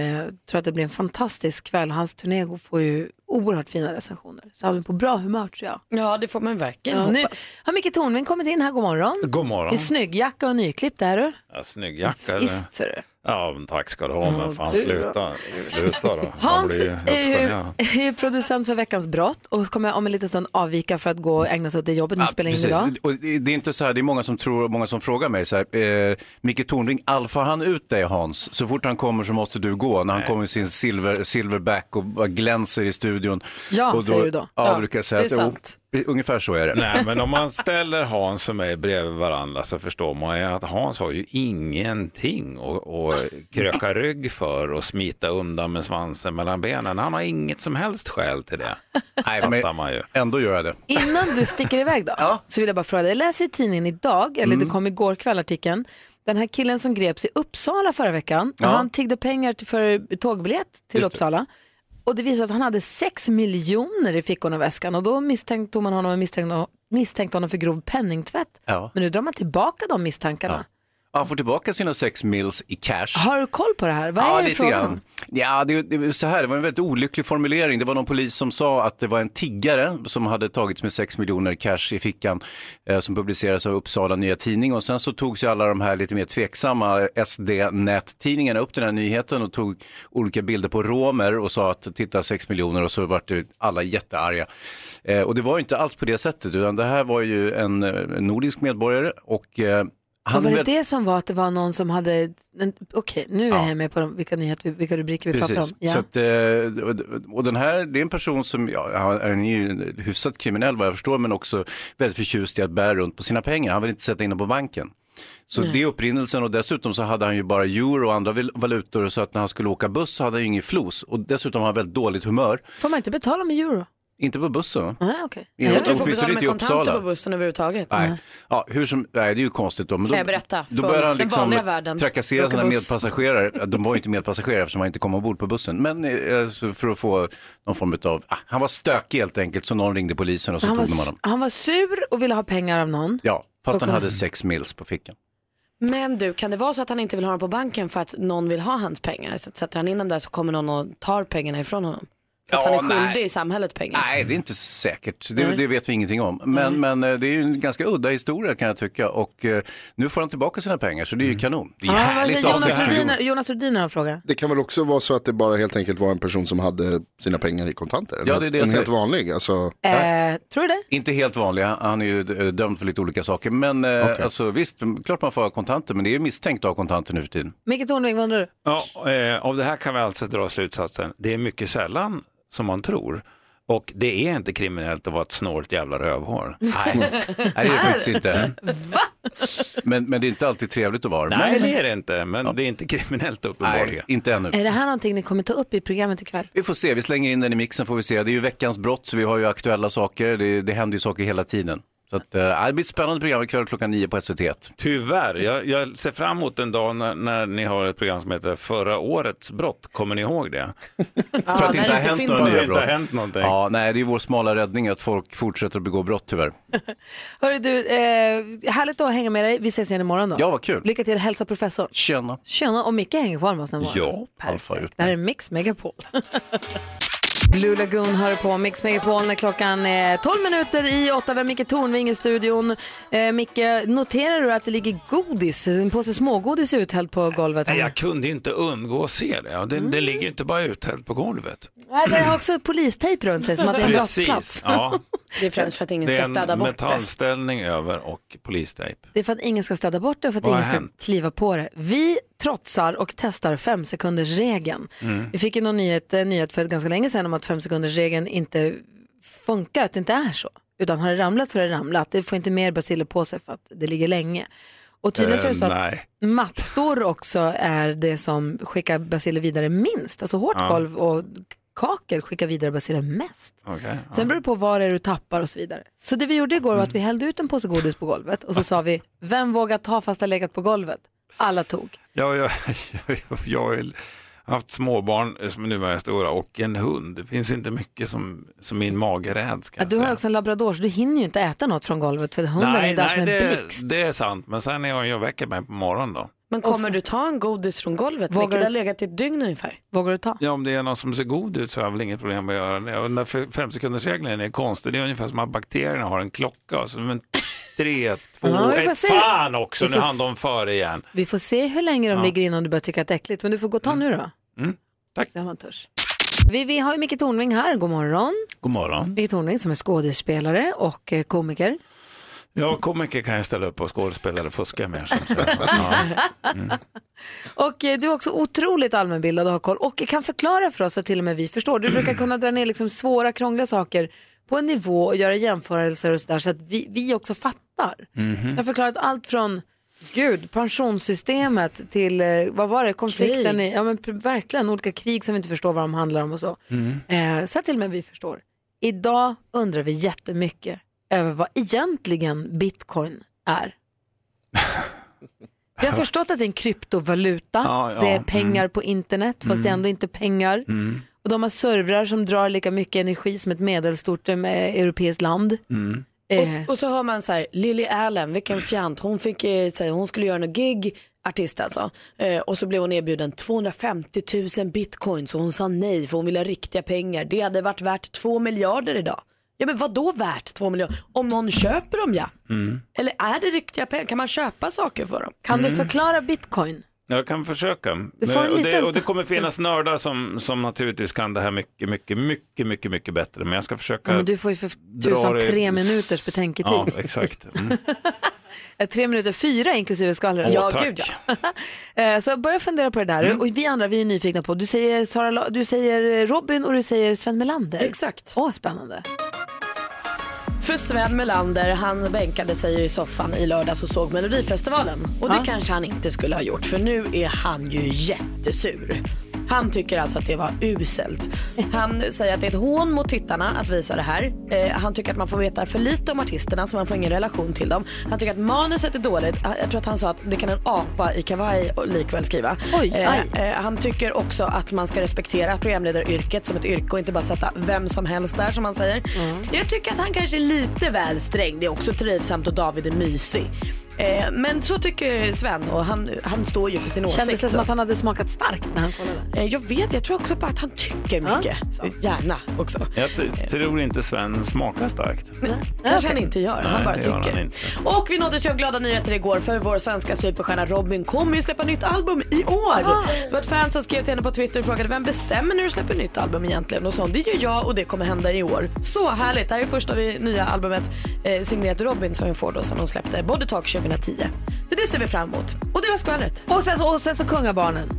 [SPEAKER 2] tror att det blir en fantastisk kväll. Hans turné får ju oerhört fina recensioner. Så han är på bra humör tror jag.
[SPEAKER 21] Ja, det får man verkligen
[SPEAKER 2] Ja, nu
[SPEAKER 21] hoppas.
[SPEAKER 2] har Micke Tornving kommit in här, god morgon.
[SPEAKER 22] God morgon.
[SPEAKER 2] I snyggjacka och nyklippt är du.
[SPEAKER 22] Ja, snygg jacka.
[SPEAKER 2] Visst, ser du.
[SPEAKER 22] Ja, men tack ska du ha. Men fan,
[SPEAKER 2] du
[SPEAKER 22] sluta. Sluta då. Man
[SPEAKER 2] Hans
[SPEAKER 22] blir ju
[SPEAKER 2] är ju,
[SPEAKER 22] östgötgöra.
[SPEAKER 2] (laughs) är ju producent för Veckans brott och kommer om en liten stund avvika för att gå och ägna sig åt det jobbet ni spelar in
[SPEAKER 4] Precis.
[SPEAKER 2] idag.
[SPEAKER 4] Och det det är inte så här, det är många som tror, många som frågar mig så här, eh, Micke Tornving, alfar han ut dig Hans? Så fort han kommer så måste du gå. När han kommer med sin silver, silverback och bara glänser i studion.
[SPEAKER 2] Ja,
[SPEAKER 4] och
[SPEAKER 2] säger du då.
[SPEAKER 4] Ja,
[SPEAKER 2] Ja,
[SPEAKER 4] brukar jag säga.
[SPEAKER 2] det är
[SPEAKER 4] att-
[SPEAKER 2] sant.
[SPEAKER 4] jo, Ungefär så är det.
[SPEAKER 22] Nej, men om man ställer Hans och mig bredvid varandra så förstår man ju att Hans har ju ingenting att, att kröka rygg för och smita undan med svansen mellan benen. Han har inget som helst skäl till det. Nej, Fattar man ju.
[SPEAKER 4] Ändå gör jag det.
[SPEAKER 2] Innan du sticker iväg då, så vill jag bara fråga dig. Jag läser i tidningen idag, eller
[SPEAKER 4] Mm.
[SPEAKER 2] det kom igår kväll artikeln, den här killen som greps i Uppsala förra veckan,
[SPEAKER 21] Ja.
[SPEAKER 2] han tiggde pengar till- för tågbiljett till
[SPEAKER 21] Just det.
[SPEAKER 2] Uppsala. Och det visade att han hade 6 miljoner i fickorna och väskan och då misstänkte tog man honom och misstänkte, misstänkte honom för grov penningtvätt.
[SPEAKER 4] Ja.
[SPEAKER 2] Men nu drar man tillbaka de misstankarna.
[SPEAKER 4] Han får tillbaka sina sex mils i cash.
[SPEAKER 2] Har du koll på det här? Vad är det
[SPEAKER 4] lite
[SPEAKER 2] frågan
[SPEAKER 4] grann.
[SPEAKER 2] om?
[SPEAKER 4] Ja, det, det, var så här, det var en väldigt olycklig formulering. Det var någon polis som sa att det var en tiggare som hade tagits med 6 miljoner cash i fickan eh, som publicerades av Uppsala Nya Tidning. Och sen så togs ju alla de här lite mer tveksamma SD-nättidningarna upp den här nyheten och tog olika bilder på romer och sa att titta 6 miljoner och så vart det alla jättearga. Eh, och det var ju inte alls på det sättet utan det här var ju en eh, nordisk medborgare och eh,
[SPEAKER 2] Och var det
[SPEAKER 4] väl-
[SPEAKER 2] det som var att det var någon som hade, en- okej nu är jag med på de, vilka, nyheter, vilka rubriker vi pratar om. Ja.
[SPEAKER 4] Så att, eh, och den här, det är en person som, ja, han han är ju hyfsat kriminell vad jag förstår, men också väldigt förtjust i att bära runt på sina pengar. Han vill inte sätta in dem på banken. Så
[SPEAKER 2] Nej.
[SPEAKER 4] det är upprinnelsen och dessutom så hade han ju bara euro och andra val- valutor så att när han skulle åka buss så hade han ju ingen flos och dessutom har han väldigt dåligt humör.
[SPEAKER 2] Får man inte betala med euro?
[SPEAKER 4] Inte på bussen.
[SPEAKER 2] Nej, okej.
[SPEAKER 4] Inte-
[SPEAKER 21] Jag tror du får
[SPEAKER 4] åtminstone
[SPEAKER 21] betala med
[SPEAKER 4] inte i
[SPEAKER 21] kontanter
[SPEAKER 4] Uppsala.
[SPEAKER 21] på bussen överhuvudtaget.
[SPEAKER 4] Nej. Ja, hur som, nej, det är ju konstigt då. Men då
[SPEAKER 21] Kan jag berätta?
[SPEAKER 4] Då
[SPEAKER 21] Från
[SPEAKER 4] börjar han
[SPEAKER 21] den vanliga
[SPEAKER 4] liksom
[SPEAKER 21] världen.
[SPEAKER 4] trakassera
[SPEAKER 21] Åka
[SPEAKER 4] sina
[SPEAKER 21] buss.
[SPEAKER 4] medpassagerare. De var ju inte medpassagerare eftersom han inte kom ombord på bussen. Men eh, så för att få någon form av, ah, han var stökig helt enkelt så någon ringde polisen och så,
[SPEAKER 2] han, var,
[SPEAKER 4] tog de honom.
[SPEAKER 2] han var sur och ville ha pengar av någon.
[SPEAKER 4] Ja, fast
[SPEAKER 2] Och
[SPEAKER 4] han
[SPEAKER 2] kom-
[SPEAKER 4] hade sex mils på fickan.
[SPEAKER 21] Men du, kan det vara så att han inte vill ha dem på banken för att någon vill ha hans pengar? Så att sätter han in dem där så kommer någon och tar pengarna ifrån honom. För att
[SPEAKER 4] Ja,
[SPEAKER 21] han är skyldig
[SPEAKER 4] nej.
[SPEAKER 21] i samhället pengar.
[SPEAKER 4] Nej, det är inte säkert. Det,
[SPEAKER 21] Nej.
[SPEAKER 4] det vet vi ingenting om. Men, men eh, det är ju en ganska udda historia kan jag tycka. Och eh, nu får han tillbaka sina pengar så det är
[SPEAKER 21] Mm.
[SPEAKER 4] ju kanon. Det är
[SPEAKER 2] Ja, vad säger
[SPEAKER 4] att ha
[SPEAKER 2] Jonas
[SPEAKER 4] sex
[SPEAKER 2] Rhodin,
[SPEAKER 4] miljoner.
[SPEAKER 2] Jonas Rhodin har en fråga.
[SPEAKER 5] Det kan väl också vara så att det bara helt enkelt var en person som hade sina pengar i kontanter?
[SPEAKER 4] Ja,
[SPEAKER 5] En-
[SPEAKER 4] det är det jag
[SPEAKER 5] en helt
[SPEAKER 4] säger.
[SPEAKER 5] vanlig, alltså.
[SPEAKER 2] Eh, tror du det?
[SPEAKER 4] Inte helt vanlig, han han är ju eh, dömd för lite olika saker. Men eh, alltså, visst, klart man får ha kontanter, men det är ju misstänkt att ha kontanter nu för tiden.
[SPEAKER 2] Micke Tornving, vad undrar du?
[SPEAKER 22] Ja, eh, av det här kan vi alltså dra slutsatsen. Det är mycket sällan som man tror. Och det är inte kriminellt att vara ett snålt jävla rövhål. Nej,
[SPEAKER 4] Nej, det är det faktiskt inte. Men, men det är inte alltid trevligt att vara.
[SPEAKER 22] Nej, det är det inte. Men det är inte kriminellt uppenbarligen.
[SPEAKER 4] Nej, inte ännu.
[SPEAKER 2] Är det här någonting ni kommer ta upp i programmet ikväll?
[SPEAKER 4] Vi får se, vi slänger in den i mixen får vi se. Det är ju veckans brott så vi har ju aktuella saker. Det, det händer ju saker hela tiden. Så att, eh, det blir ett spännande program ikväll klockan nio på SVT1.
[SPEAKER 22] Tyvärr, jag, jag ser fram emot en dag när, när ni har ett program som heter Förra årets brott. Kommer ni ihåg det?
[SPEAKER 4] För att det inte har hänt några
[SPEAKER 22] För
[SPEAKER 4] nya
[SPEAKER 22] att det inte har
[SPEAKER 4] brott.
[SPEAKER 22] hänt någonting.
[SPEAKER 4] Ja, nej, det är ju vår smala räddning att folk fortsätter att begå brott tyvärr.
[SPEAKER 2] Hörru du, eh, härligt att hänga med dig. Vi ses igen imorgon då.
[SPEAKER 4] Ja, vad kul.
[SPEAKER 2] Lycka till, hälsa professor.
[SPEAKER 4] Tjena.
[SPEAKER 2] Tjena, och Micke hänger kvar med oss den här morgonen.
[SPEAKER 4] perfekt.
[SPEAKER 2] Det här är Mix Megapol. (laughs) Blue Lagoon hör på Mix Megapol när klockan är 12 minuter i 8. Vi har Micke Tornving i studion. Eh, Micke, noterar du att det ligger godis, en påse smågodis uthälld på golvet?
[SPEAKER 22] Nej,
[SPEAKER 2] här?
[SPEAKER 22] jag kunde ju inte undgå att se det. Ja, Det, det ligger ju inte bara uthällt på golvet.
[SPEAKER 2] Nej, det har också polistejp runt sig som att det är en brottsplats.
[SPEAKER 22] Precis, ja.
[SPEAKER 21] Det är främst för att ingen
[SPEAKER 22] Det
[SPEAKER 21] ska
[SPEAKER 22] är
[SPEAKER 21] städa
[SPEAKER 22] en
[SPEAKER 21] bort det.
[SPEAKER 22] metallställning över och polistejp.
[SPEAKER 2] Det är för att ingen ska städa bort det och för att
[SPEAKER 22] Typ. Vad har
[SPEAKER 2] ingen ska
[SPEAKER 22] hänt?
[SPEAKER 2] kliva på det. Vi trotsar och testar fem sekunders regeln.
[SPEAKER 22] Mm.
[SPEAKER 2] Vi fick eh, ju någon nyhet, en nyhet för ganska länge sedan om att fem sekunders regeln inte funkar, att det inte är så. Utan har det ramlat så har det ramlat. Det får inte mer basiller på sig för att det ligger länge. Och tydligen så är det så
[SPEAKER 22] Eh,
[SPEAKER 2] att
[SPEAKER 22] nej.
[SPEAKER 2] mattor också är det som skickar basiller vidare minst. Alltså hårt
[SPEAKER 22] Ja.
[SPEAKER 2] golv och kakel skickar vidare basiller mest.
[SPEAKER 22] Okej.
[SPEAKER 2] Sen beror det på var det är du tappar och så vidare. Så det vi gjorde igår var att
[SPEAKER 22] Mm.
[SPEAKER 2] vi hällde ut en påse godis på golvet
[SPEAKER 22] Ah.
[SPEAKER 2] och så sa vi, vem vågar ta fast det har legat på golvet? Alla tog.
[SPEAKER 22] Ja, jag, (laughs) jag, jag har ju haft småbarn som nu är stora och en hund. Det finns inte mycket som, som min mage räds.
[SPEAKER 2] Ja,
[SPEAKER 22] kan jag
[SPEAKER 2] du har ju också en labrador så du hinner ju inte äta något från golvet för hunden är ju där som en blixt.
[SPEAKER 22] det, det är sant. Men sen är jag, jag väcker mig på morgonen då.
[SPEAKER 3] Men kommer du ta en godis från golvet?
[SPEAKER 2] Vågar
[SPEAKER 3] Vågar vilket
[SPEAKER 2] du-
[SPEAKER 3] har legat i ett dygn ungefär.
[SPEAKER 2] Vågar du ta?
[SPEAKER 22] Ja, om det är någon som ser god ut så har jag väl inget problem med att göra det. Och den där f- femsekundersregeln är konstig. Det är ungefär som att bakterierna har en klocka. Så men
[SPEAKER 2] (laughs)
[SPEAKER 22] tre, två,
[SPEAKER 2] Ja, vi får
[SPEAKER 22] ett.
[SPEAKER 2] se.
[SPEAKER 22] Fan också,
[SPEAKER 2] Vi
[SPEAKER 22] nu
[SPEAKER 2] får
[SPEAKER 22] hann
[SPEAKER 2] se.
[SPEAKER 22] de före igen.
[SPEAKER 2] Vi får se hur länge de
[SPEAKER 22] Ja.
[SPEAKER 2] ligger innan du börjar tycka att det är äckligt. Men du får gå och ta nu då.
[SPEAKER 22] Mm. Tack.
[SPEAKER 2] Se om man törs. Vi, vi har ju Micke Tornving här, god morgon.
[SPEAKER 22] God morgon.
[SPEAKER 2] Micke Tornving som är skådespelare och eh, komiker.
[SPEAKER 22] Ja, komiker kan jag ställa upp och skådespelare fuskar med.
[SPEAKER 2] (laughs)
[SPEAKER 22] Som sagt.
[SPEAKER 2] Och eh, du är också otroligt allmänbildad och har koll och kan förklara för oss att till och med vi förstår. Du brukar kunna dra ner liksom svåra, krångliga saker på en nivå och göra jämförelser och sådär så att vi, vi också fattar.
[SPEAKER 17] Mm.
[SPEAKER 2] Jag har förklarat allt från Gud, pensionssystemet till, eh, vad var det, konflikten i, ja men p- verkligen olika krig som vi inte förstår vad de handlar om och så.
[SPEAKER 22] Mm.
[SPEAKER 2] Eh, så att till och med vi förstår. Idag undrar vi jättemycket över vad egentligen bitcoin är. Vi har förstått att det är en kryptovaluta,
[SPEAKER 22] Ja, ja,
[SPEAKER 2] det är pengar på internet fast det är
[SPEAKER 22] Mm.
[SPEAKER 2] ändå inte pengar.
[SPEAKER 22] Mm.
[SPEAKER 2] Och de har servrar som drar lika mycket energi som ett medelstort eh, europeiskt land.
[SPEAKER 22] Mm.
[SPEAKER 2] Eh,
[SPEAKER 3] Och, och så hör man så här, Lily Allen, vilken fjant. Hon, fick, eh, så här, hon skulle göra något gig, artist alltså. Eh, och så blev hon erbjuden 250 000 bitcoins och hon sa nej för hon ville ha riktiga pengar. Det hade varit värt 2 miljarder idag. Ja men vad då värt 2 miljarder? Om någon köper dem ja.
[SPEAKER 22] Mm.
[SPEAKER 3] Eller är det riktiga pengar? Kan man köpa saker för dem?
[SPEAKER 2] Kan
[SPEAKER 22] Mm.
[SPEAKER 2] du förklara bitcoin?
[SPEAKER 22] Jag kan försöka.
[SPEAKER 2] Du får en
[SPEAKER 22] Men- och, det,
[SPEAKER 2] liten
[SPEAKER 22] och det kommer
[SPEAKER 2] stund.
[SPEAKER 22] finnas nördar som, som naturligtvis kan det här mycket, mycket, mycket, mycket, mycket bättre. Men jag ska försöka.
[SPEAKER 2] Ja, men du får ju för
[SPEAKER 22] dra
[SPEAKER 2] tusan
[SPEAKER 22] det-
[SPEAKER 2] tre minuters betänketid.
[SPEAKER 22] Ja, exakt.
[SPEAKER 2] (laughs)
[SPEAKER 22] Mm.
[SPEAKER 2] Eh, Tre minuter, fyra inklusive skvallret.
[SPEAKER 22] Åh, Ja, tack. gud,
[SPEAKER 2] ja. (laughs) Eh, Så börja fundera på det där.
[SPEAKER 3] Mm.
[SPEAKER 2] Och vi andra vi är nyfikna på, du säger, Sara, La- du säger Robin och du säger Sven Melander.
[SPEAKER 3] Exakt.
[SPEAKER 2] Åh, spännande.
[SPEAKER 3] För Sven Melander, han bänkade sig ju i soffan i lördags och såg Melodifestivalen. Och det kanske han inte skulle ha gjort för nu är han ju jättesur. Han tycker alltså att det var uselt. Han säger att det är ett hån mot tittarna att visa det här. Eh, han tycker att man får veta för lite om artisterna så man får ingen relation till dem. Han tycker att manuset är dåligt. Ah, Jag tror att han sa att det kan en apa i kavaj likväl skriva.
[SPEAKER 2] Oj,
[SPEAKER 3] Eh,
[SPEAKER 2] aj.
[SPEAKER 3] Eh, Han tycker också att man ska respektera programledaryrket som ett yrke och inte bara sätta vem som helst där som han säger.
[SPEAKER 2] Mm.
[SPEAKER 3] Jag tycker att han kanske är lite väl sträng. Det är också trivsamt och David är mysig. Eh, Men så tycker Sven och han, han står ju för sin åsikt.
[SPEAKER 2] Kändes det som
[SPEAKER 3] så.
[SPEAKER 2] att han hade smakat starkt när han kollade?
[SPEAKER 3] Eh, Jag vet, jag tror också bara att han tycker mycket. Gärna också.
[SPEAKER 22] Jag t- tror inte Sven smakar starkt.
[SPEAKER 3] kanske han inte gör. han bara
[SPEAKER 22] det gör
[SPEAKER 3] tycker.
[SPEAKER 22] han inte.
[SPEAKER 3] Och vi nåddes ju av glada nyheter igår för vår svenska superstjärna Robin kommer ju släppa nytt album i år. Det var ett fan som skrev till henne på Twitter och frågade vem bestämmer när du släpper nytt album egentligen? Och så det gör jag och det kommer hända i år. Så härligt. Det här är första vi, nya albumet eh, signerat Robin som hon får då sen hon släppte Body Talk 2010. Så det ser vi fram emot. Och det var skvallret.
[SPEAKER 2] Och sen, så- och sen så kungabarnen.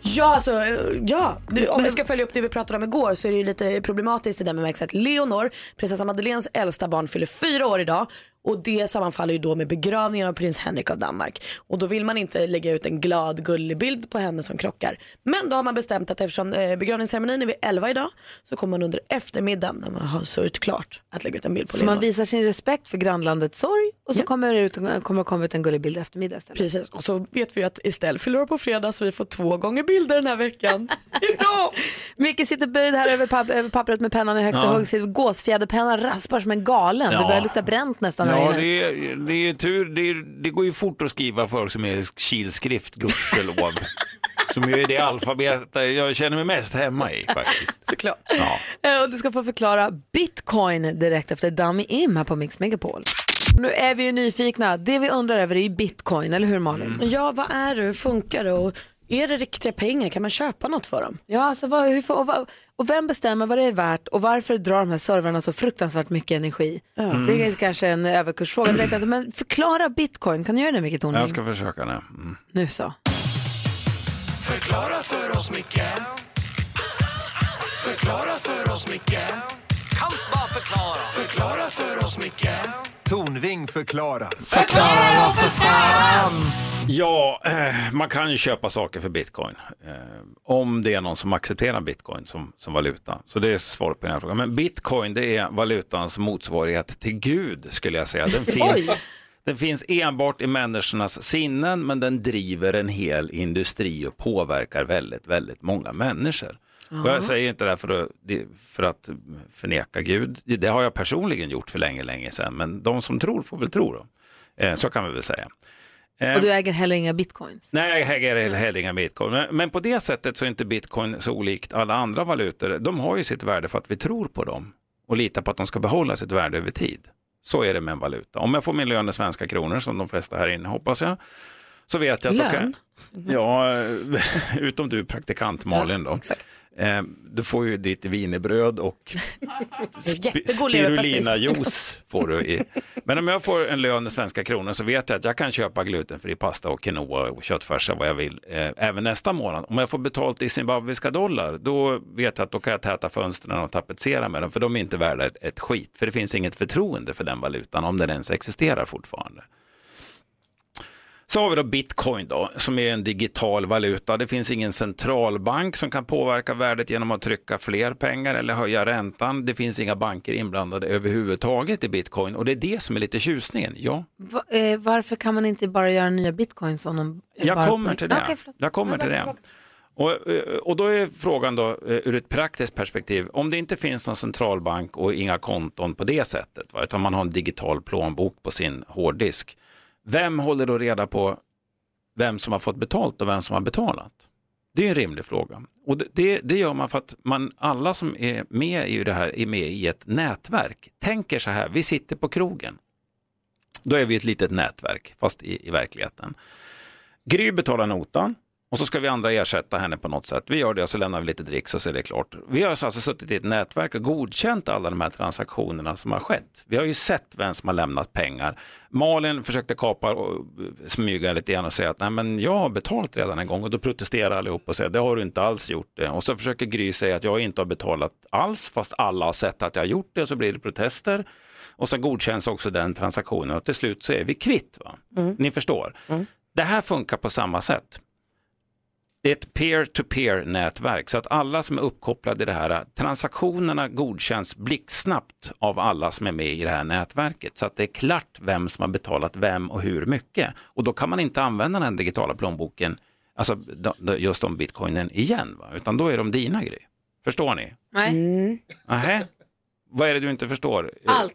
[SPEAKER 3] Ja, alltså, eh, ja. Du, om vi ska följa upp det vi pratade om igår så är det ju lite problematiskt i den bemärkelsen att Leonor, prinsessa Madeleines äldsta barn, fyller fyra år idag och det sammanfaller ju då med begravningen av prins Henrik av Danmark. Och då vill man inte lägga ut en glad gullig bild på henne som krockar. Men då har man bestämt att eftersom eh, begravningsceremonin är vid 11 idag så kommer man under eftermiddagen när man har sörjt klart att lägga ut en bild på
[SPEAKER 2] Så
[SPEAKER 3] Leonor.
[SPEAKER 2] man visar sin respekt för grannlandets sorg och så kommer det ut, kommer det komma ut en gullig bild i eftermiddag istället.
[SPEAKER 3] Precis, och så vet vi ju att Estelle fyller år på fredag så vi får två gånger bilder den här veckan.
[SPEAKER 2] Micke sitter böjd här över, papp- över pappret med pennan i högsta
[SPEAKER 22] Ja.
[SPEAKER 2] hugg. Sitter- Gåsfjäderpennan raspar som en galen. Det
[SPEAKER 22] Ja.
[SPEAKER 2] börjar lukta bränt nästan här
[SPEAKER 22] Ja,
[SPEAKER 2] inne.
[SPEAKER 22] det är, det är tur. Det, är, det går ju fort att skriva för som är
[SPEAKER 3] (laughs)
[SPEAKER 22] kilskrift, gudskelov. som ju är det alfabet jag känner mig mest hemma i faktiskt.
[SPEAKER 3] Såklart.
[SPEAKER 22] Ja.
[SPEAKER 2] Eh, Och du ska få förklara bitcoin direkt efter Dummy Im här på Mix Megapol. (laughs) Nu är vi ju nyfikna. Det vi undrar över är ju bitcoin, eller hur Malin?
[SPEAKER 3] Mm. Ja, vad är det? Hur funkar det? Och är det riktiga pengar? Kan man köpa något för dem?
[SPEAKER 2] Ja, alltså vad, hur, får- och, vad, och vem bestämmer vad det är värt och varför drar de här servrarna så fruktansvärt mycket energi?
[SPEAKER 22] Mm.
[SPEAKER 2] Det är kanske en överkursfråga, det vet jag inte. Men förklara bitcoin, kan du göra det Micke Tornving?
[SPEAKER 22] Jag ska försöka nu. Mm.
[SPEAKER 2] Nu så.
[SPEAKER 9] Förklara för oss, Micke. Förklara för oss, Micke.
[SPEAKER 10] Kan bara förklara. Förklara för oss, Micke. Tornving förklara.
[SPEAKER 22] Förklara för fan! Ja, eh, man kan ju köpa saker för bitcoin. Eh, om det är någon som accepterar bitcoin som, som valuta. Så det är svaret på den här frågan. Men bitcoin det är valutans motsvarighet till Gud skulle jag säga. Den finns, den finns enbart i människornas sinnen men den driver en hel industri och påverkar väldigt, väldigt många människor. Och
[SPEAKER 21] Ja.
[SPEAKER 22] jag säger inte det här för att, för att förneka Gud. Det har jag personligen gjort för länge, länge sedan. Men de som tror får väl tro då. Eh, så kan vi väl säga. Eh,
[SPEAKER 2] Och du äger heller inga bitcoins.
[SPEAKER 22] Nej, jag äger heller inga bitcoin. Men, men på det sättet så är inte bitcoin så olikt alla andra valutor. De har ju sitt värde för att vi tror på dem och litar på att de ska behålla sitt värde över tid. Så är det med en valuta. Om jag får min lön i svenska kronor, som de flesta här inne hoppas jag, så vet jag att då
[SPEAKER 21] Lön?
[SPEAKER 22] kan... Ja, (laughs) utom du är praktikant Malin då. Eh, Du får ju ditt wienerbröd och sp-
[SPEAKER 21] Jättegod leverpastej.
[SPEAKER 22] (laughs) spirulinajuice får du
[SPEAKER 21] (laughs)
[SPEAKER 22] i. Men om jag får en lön i svenska kronor så vet jag att jag kan köpa glutenfri pasta och quinoa och köttfärsa vad jag vill eh, även nästa månad. Om jag får betalt i zimbabwiska dollar då vet jag att då kan jag täta fönstren och tapetsera med dem för de är inte värda ett, ett skit. För det finns inget förtroende för den valutan om den ens existerar fortfarande. Så har vi då bitcoin då, som är en digital valuta. Det finns ingen centralbank som kan påverka värdet genom att trycka fler pengar eller höja räntan. Det finns inga banker inblandade överhuvudtaget i bitcoin och det är det som är lite tjusningen. Ja,
[SPEAKER 2] Va, eh, varför kan man inte bara göra nya bitcoins? Om de bara...
[SPEAKER 22] jag kommer till det.
[SPEAKER 2] Okej, förlåt.
[SPEAKER 22] Jag kommer till det. Och, eh, och då är frågan då eh, ur ett praktiskt perspektiv, om det inte finns någon centralbank och inga konton på det sättet, va, utan man har en digital plånbok på sin hårddisk, vem håller då reda på vem som har fått betalt och vem som har betalat? Det är en rimlig fråga. Och det- det, det gör man för att man, alla som är med i det här är med i ett nätverk. Tänker så här, vi sitter på krogen. Då är vi ett litet nätverk, fast i, i verkligheten. Gry betalar notan och så ska vi andra ersätta henne på något sätt. Vi gör det och så lämnar vi lite dricks och så är det klart. Vi har alltså suttit i ett nätverk och godkänt alla de här transaktionerna som har skett. Vi har ju sett vem som har lämnat pengar. Malin försökte kapa och eh, smyga lite grann och säga att Nej, men jag har betalt redan en gång och då protesterar allihop och säger det har du inte alls gjort det. Och så försöker Gry säga att jag inte har betalat alls fast alla har sett att jag har gjort det och så blir det protester. Och så godkänns också den transaktionen och till slut så är vi kvitt. Va? Ni förstår. Det här funkar på samma sätt. Det är ett peer-to-peer-nätverk så att alla som är uppkopplade i det här, transaktionerna godkänns blixtsnabbt av alla som är med i det här nätverket. Så att det är klart vem som har betalat vem och hur mycket. Och då kan man inte använda den digitala plånboken, alltså de- de- just de bitcoinen igen, va? utan då är de dina Gry. Förstår ni?
[SPEAKER 2] Nej.
[SPEAKER 22] Nähä? Vad är det du inte förstår?
[SPEAKER 2] Allt.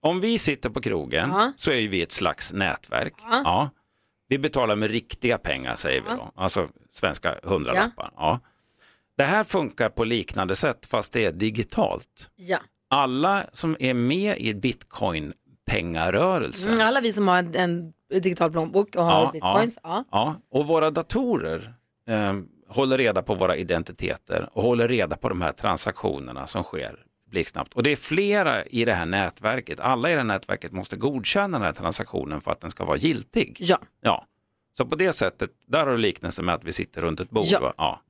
[SPEAKER 22] Om vi sitter på krogen
[SPEAKER 2] Ja.
[SPEAKER 22] så är ju vi ett slags nätverk.
[SPEAKER 2] Ja.
[SPEAKER 22] Ja. Vi betalar med riktiga pengar säger vi då, alltså svenska hundralappar. Ja. Det här funkar på liknande sätt fast det är digitalt.
[SPEAKER 2] Ja.
[SPEAKER 22] Alla som är med i bitcoin-pengarörelsen
[SPEAKER 2] Mm, alla vi som har en, en digital plånbok och har bitcoins. Ja.
[SPEAKER 22] ja. Och våra datorer eh, håller reda på våra identiteter och håller reda på de här transaktionerna som sker blixtsnabbt. Och det är flera i det här nätverket. Alla i det här nätverket måste godkänna den här transaktionen för att den ska vara giltig.
[SPEAKER 2] Ja.
[SPEAKER 22] ja. Så på det sättet, där har du liknelsen med att vi sitter runt ett bord.
[SPEAKER 2] Ja.
[SPEAKER 22] va? Ja.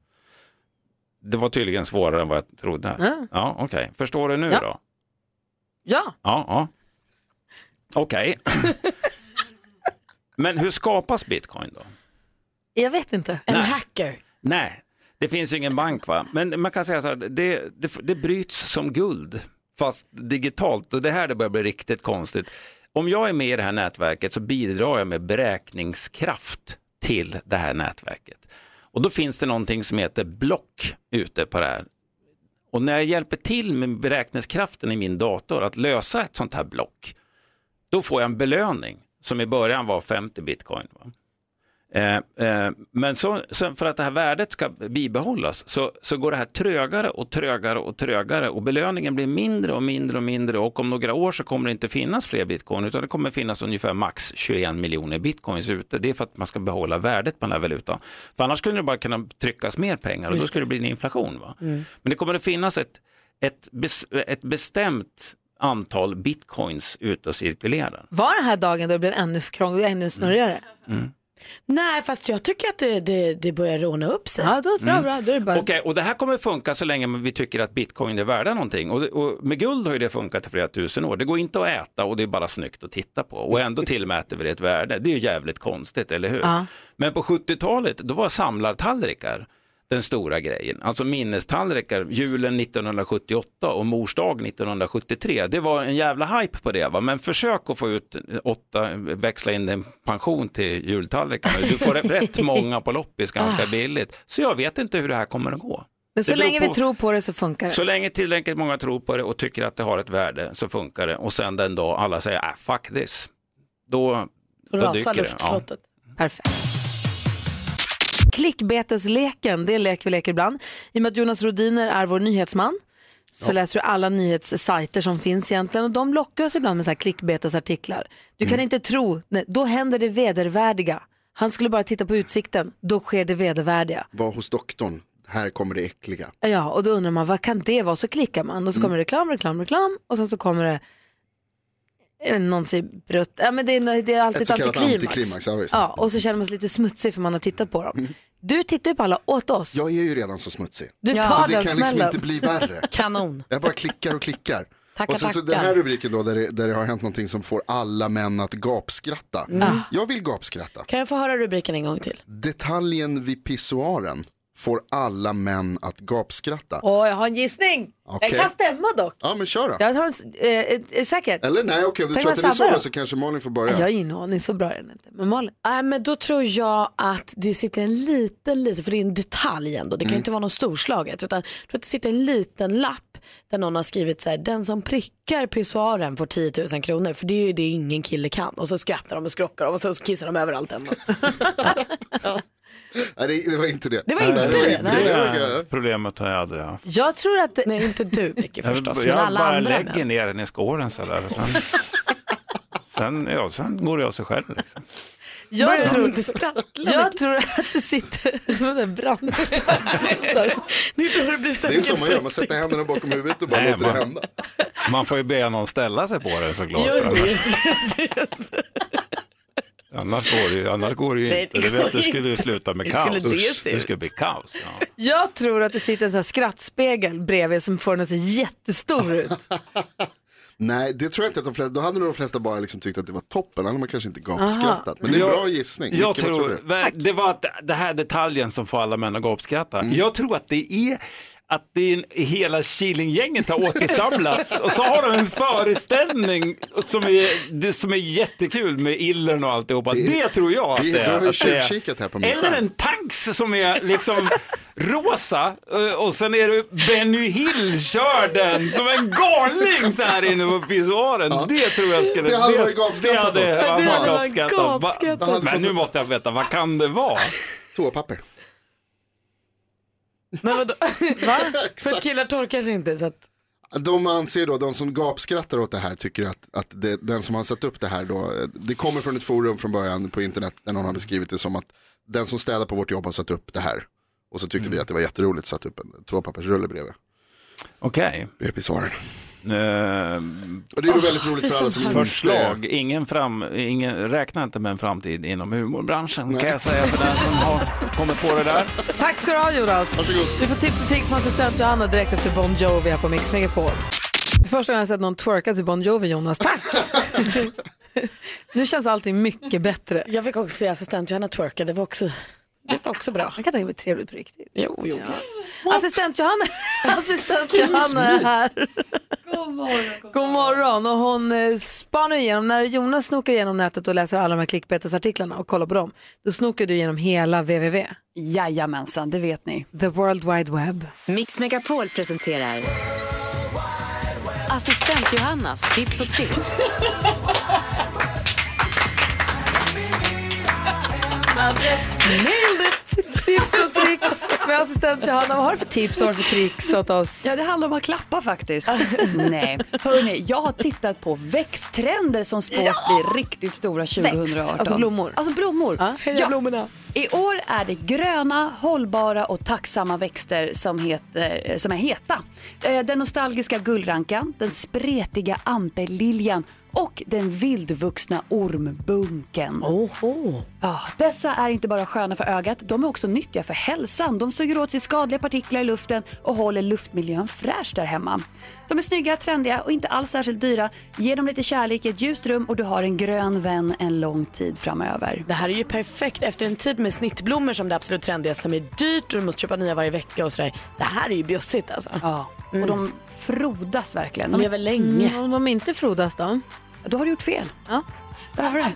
[SPEAKER 22] Det var tydligen svårare än vad jag trodde.
[SPEAKER 2] Ja.
[SPEAKER 22] Ja, okej. Förstår du nu
[SPEAKER 2] Ja.
[SPEAKER 22] då?
[SPEAKER 2] Ja.
[SPEAKER 22] Ja, ja.
[SPEAKER 2] (laughs)
[SPEAKER 22] Okej. Men hur skapas bitcoin då?
[SPEAKER 2] Jag vet inte.
[SPEAKER 22] En
[SPEAKER 21] hacker.
[SPEAKER 22] Nej, det finns ju ingen bank va? Men man kan säga så här, det, det, det bryts som guld, fast digitalt. Och det här det börjar bli riktigt konstigt. Om jag är med i det här nätverket så bidrar jag med beräkningskraft till det här nätverket. Och då finns det någonting som heter block ute på det här och när jag hjälper till med beräkningskraften i min dator att lösa ett sånt här block, då får jag en belöning som i början var 50 bitcoin. Va? Eh, eh, men så, sen för att det här värdet ska bibehållas så, så går det här trögare och trögare och trögare och belöningen blir mindre och mindre och mindre och om några år så kommer det inte finnas fler bitcoin utan det kommer finnas ungefär max 21 miljoner bitcoins ute. Det är för att man ska behålla värdet på den här valutan. För annars skulle det bara kunna tryckas mer pengar och då
[SPEAKER 21] Just
[SPEAKER 22] skulle det bli en inflation. Va?
[SPEAKER 21] Mm.
[SPEAKER 22] Men det kommer att finnas ett, ett, bes, ett bestämt antal bitcoins ute och cirkulerar.
[SPEAKER 3] Mm.
[SPEAKER 2] Var det här dagen då det blev ännu krångligare, ännu snurrigare?
[SPEAKER 22] Mm.
[SPEAKER 3] Nej, fast jag tycker att det, det, det börjar råna upp sig.
[SPEAKER 2] Ja, då,
[SPEAKER 22] Mm. Okej, och det här kommer funka så länge vi tycker att bitcoin är värda någonting. Och, och med guld har ju det funkat i flera tusen år. Det går inte att äta och det är bara snyggt att titta på. Och ändå tillmäter vi det ett värde. Det är ju jävligt konstigt, eller hur?
[SPEAKER 2] Ja.
[SPEAKER 22] Men på 70-talet, då var samlartallrikar den stora grejen. Alltså minnestallrikar, julen 1978 och mors dag 1973. Det var en jävla hype på det. Va? Men försök att få ut åtta, växla in din pension till jultallrikarna. Du får rätt många på loppis
[SPEAKER 3] Ah.
[SPEAKER 22] ganska billigt. Så jag vet inte hur det här kommer att gå.
[SPEAKER 2] Men så
[SPEAKER 22] Det beror
[SPEAKER 2] länge vi
[SPEAKER 22] på-
[SPEAKER 2] tror på det så funkar
[SPEAKER 3] Eh.
[SPEAKER 2] det.
[SPEAKER 22] så länge tillräckligt många tror på det och tycker att det har ett värde så funkar det och sen den dag alla säger ah, fuck this, då, då, dyker det. Ja.
[SPEAKER 2] Perfekt. Klickbetesleken, det är en lek vi leker ibland. I och med att Jonas Rodiner är vår nyhetsman så läser du alla nyhetssajter som finns egentligen och de lockar oss ibland med så här klickbetesartiklar. Du kan inte tro, nej, då händer det vedervärdiga. Han skulle bara titta på utsikten, då sker det vedervärdiga.
[SPEAKER 5] Var hos doktorn, här kommer det äckliga.
[SPEAKER 2] Ja, och då undrar man vad kan det vara? Så klickar man och så
[SPEAKER 5] Mm.
[SPEAKER 2] kommer reklam, reklam, reklam och sen så kommer det jag vet inte, någon säger brutt. Ja, men det, är, det är alltid
[SPEAKER 5] Ett
[SPEAKER 2] ett,
[SPEAKER 5] så kallat
[SPEAKER 2] antiklimax.
[SPEAKER 5] antiklimax, ja, visst. Mm.
[SPEAKER 2] ja, och så känner man sig lite smutsig för man har tittat på dem. Du tittar ju på alla åt oss.
[SPEAKER 5] Jag är ju redan så smutsig.
[SPEAKER 2] Du tar
[SPEAKER 5] så
[SPEAKER 2] den
[SPEAKER 5] det kan liksom
[SPEAKER 2] smällen.
[SPEAKER 5] inte bli värre.
[SPEAKER 3] Kanon.
[SPEAKER 5] Jag bara klickar och klickar.
[SPEAKER 3] Tackar,
[SPEAKER 5] och sen så
[SPEAKER 3] tackar.
[SPEAKER 5] den här rubriken då där det, där det har hänt någonting som får alla män att gapskratta.
[SPEAKER 3] Mm.
[SPEAKER 5] Jag vill gapskratta.
[SPEAKER 3] Kan jag få höra rubriken en gång till?
[SPEAKER 5] Detaljen vid pissoaren får alla män att gapskratta.
[SPEAKER 2] Åh, jag har en gissning.
[SPEAKER 5] Okej.
[SPEAKER 2] Den kan stämma dock.
[SPEAKER 5] Ja men kör då.
[SPEAKER 2] Jag har en, s- eh, eh, eh, säkert.
[SPEAKER 5] Eller nej okej, om du
[SPEAKER 2] Tänk
[SPEAKER 5] tror
[SPEAKER 2] om
[SPEAKER 5] att
[SPEAKER 2] jag
[SPEAKER 5] den är så
[SPEAKER 2] sabbar
[SPEAKER 5] bra
[SPEAKER 2] då?
[SPEAKER 5] så kanske Malin får
[SPEAKER 2] Jag har
[SPEAKER 5] börja.
[SPEAKER 2] ingen aning, så bra är den inte. Men Malin.
[SPEAKER 3] Nej, men då tror jag att det sitter en liten, liten, för det är en detalj ändå, det kan ju
[SPEAKER 2] Mm.
[SPEAKER 3] inte vara något storslaget, utan jag tror att det sitter en liten lapp där någon har skrivit så här, den som prickar pissoaren får 10 000 kronor, för det är ju det ingen kille kan. Och så skrattar de och skrockar de och så kissar de överallt ändå.
[SPEAKER 5] Nej, det, det var inte det.
[SPEAKER 3] Det var inte
[SPEAKER 5] var
[SPEAKER 3] det, nej.
[SPEAKER 22] Det problemet har jag aldrig haft.
[SPEAKER 2] (laughs) Jag tror att...
[SPEAKER 3] Nej, inte du
[SPEAKER 2] (laughs)
[SPEAKER 3] Micke förstås,
[SPEAKER 22] jag
[SPEAKER 3] men alla
[SPEAKER 22] bara
[SPEAKER 3] andra.
[SPEAKER 22] lägger ner den i skålen så där. och
[SPEAKER 3] (laughs)
[SPEAKER 22] Sen, sen, ja, sen går det av sig själv. Liksom.
[SPEAKER 2] Jag tror,
[SPEAKER 3] inte sprattla.
[SPEAKER 2] jag tror att det sitter liksom. (laughs) som en sån här brand.
[SPEAKER 3] det är så det blir
[SPEAKER 5] Det är så man gör, man sätter händerna bakom huvudet och bara
[SPEAKER 22] Nej,
[SPEAKER 5] låter det
[SPEAKER 22] man-
[SPEAKER 5] hända.
[SPEAKER 22] Man får ju be någon ställa sig på den såklart.
[SPEAKER 3] Just det,
[SPEAKER 22] annars,
[SPEAKER 3] just det, just det.
[SPEAKER 22] annars går det ju, annars går det ju
[SPEAKER 2] Nej,
[SPEAKER 22] inte.
[SPEAKER 2] det
[SPEAKER 22] Det,
[SPEAKER 2] går
[SPEAKER 22] vet, det skulle ju
[SPEAKER 2] inte.
[SPEAKER 22] sluta med
[SPEAKER 2] Hur
[SPEAKER 22] kaos.
[SPEAKER 2] skulle det
[SPEAKER 22] Usch,
[SPEAKER 2] se
[SPEAKER 22] det
[SPEAKER 2] ut?
[SPEAKER 22] skulle bli kaos. Ja.
[SPEAKER 2] Jag tror att det sitter en sån här skrattspegel bredvid som får den att se jättestor
[SPEAKER 22] (laughs)
[SPEAKER 2] ut.
[SPEAKER 5] Nej, det tror jag inte att de flesta, då hade nog de flesta bara liksom tyckt att det var toppen, då hade man kanske inte
[SPEAKER 2] Aha.
[SPEAKER 5] gapskrattat. Men det är en
[SPEAKER 22] Jag-
[SPEAKER 5] bra gissning.
[SPEAKER 22] Jag
[SPEAKER 5] Micke, vad
[SPEAKER 22] tror,
[SPEAKER 5] du?
[SPEAKER 22] väl, det var att det här detaljen som får alla män att gapskratta.
[SPEAKER 5] Mm.
[SPEAKER 22] Jag tror att det är att det är en, hela Killinggänget har återsamlats och så har de en föreställning som är, det, som är jättekul med illern och alltihopa.
[SPEAKER 5] Det
[SPEAKER 22] Det,
[SPEAKER 5] är-
[SPEAKER 22] tror jag att
[SPEAKER 5] det-
[SPEAKER 22] det
[SPEAKER 5] du har ju
[SPEAKER 22] att det är.
[SPEAKER 5] tjuvkikat här på min
[SPEAKER 22] Eller
[SPEAKER 5] skärm.
[SPEAKER 22] en tanks som är liksom rosa eh, och sen är det Benny Hill kör den som en galning så här inne på pissoaren. Det tror jag skulle...
[SPEAKER 5] Det hade man ju gapskrattat
[SPEAKER 22] det
[SPEAKER 5] åt.
[SPEAKER 22] hade
[SPEAKER 5] Det
[SPEAKER 22] man
[SPEAKER 5] hade man
[SPEAKER 22] gapskrattat. Va-
[SPEAKER 5] gapskrattat åt.
[SPEAKER 22] Men nu måste jag veta, vad kan det vara?
[SPEAKER 5] Toapapper.
[SPEAKER 3] Men
[SPEAKER 5] (laughs)
[SPEAKER 3] vadå? (laughs) För killar torkar sig inte så att...
[SPEAKER 5] De anser då, de som gapskrattar åt det här tycker att, att det, den som har satt upp det här då, eh, det kommer från ett forum från början på internet där någon har beskrivit det som att den som städar på vårt jobb har satt upp det här. Och så tyckte
[SPEAKER 3] Mm.
[SPEAKER 5] vi att det var jätteroligt att satt upp en toapappersrulle bredvid.
[SPEAKER 22] Okej. Eh,
[SPEAKER 5] Bredvid pissoaren.
[SPEAKER 22] Och
[SPEAKER 5] Och det är ju väldigt roligt för alla som inte-
[SPEAKER 22] Förslag, ingen fram, ingen, räkna inte med en framtid inom humorbranschen kan jag säga för den som har kommit på
[SPEAKER 5] (laughs)
[SPEAKER 22] det där.
[SPEAKER 2] Tack ska du ha Jonas. Du får tips och tricks med assistent Johanna direkt efter Bon Jovi här på Mix Megapol. Det är första gången jag har sett någon twerka till Bon Jovi Jonas,
[SPEAKER 22] (laughs)
[SPEAKER 2] tack. nu känns allting mycket bättre.
[SPEAKER 3] Jag fick också se assistent Johanna twerka, det var också, det var också bra.
[SPEAKER 2] Man kan tänka mig trevligt på riktigt.
[SPEAKER 3] Jo, jo visst.
[SPEAKER 2] Assistent Johanna, (laughs) assistent
[SPEAKER 3] Excuse
[SPEAKER 2] Johanna är
[SPEAKER 3] me.
[SPEAKER 2] här. God morgon och hon eh, spanar igenom, när Jonas snokar igenom nätet och läser alla de här klickbetesartiklarna och kollar på dem, då snokar du igenom hela www.
[SPEAKER 19] Jajamensan, det vet ni.
[SPEAKER 2] The World Wide Web.
[SPEAKER 19] Mix Megapol presenterar Assistent Johannas tips och tricks.
[SPEAKER 2] Tips och tricks med assistent Johanna. (laughs) Vad har du för tips och för tricks åt oss?
[SPEAKER 17] Ja, det handlar om att klappa
[SPEAKER 2] (laughs)
[SPEAKER 17] faktiskt. Nej, hörni, jag har tittat på växttrender som spås bli riktigt stora 2018.
[SPEAKER 2] Växt, alltså blommor.
[SPEAKER 17] Alltså blommor.
[SPEAKER 2] heja blommorna.
[SPEAKER 17] I år är det gröna, hållbara och tacksamma växter som, heter, som är heta. Eh, Den nostalgiska gullrankan, den spretiga amperliljan och den vildvuxna ormbunken.
[SPEAKER 3] Oho.
[SPEAKER 17] Ja, dessa är inte bara sköna för ögat, de är också nyttiga för hälsan. De suger åt sig skadliga partiklar i luften och håller luftmiljön fräsch där hemma. De är snygga, trendiga och inte alls särskilt dyra. Ge dem lite kärlek i ett ljust rum och du har en grön vän en lång tid framöver.
[SPEAKER 3] Det här är ju perfekt efter en tid med snittblommor som det absolut trendigaste som är dyrt och du måste köpa nya varje vecka och sådär. Det här är ju bjussigt alltså.
[SPEAKER 17] Ja, och de frodas verkligen.
[SPEAKER 3] De lever länge.
[SPEAKER 2] Mm, om de inte frodas då?
[SPEAKER 17] Då har du gjort fel.
[SPEAKER 2] Ja.
[SPEAKER 17] Där har du det.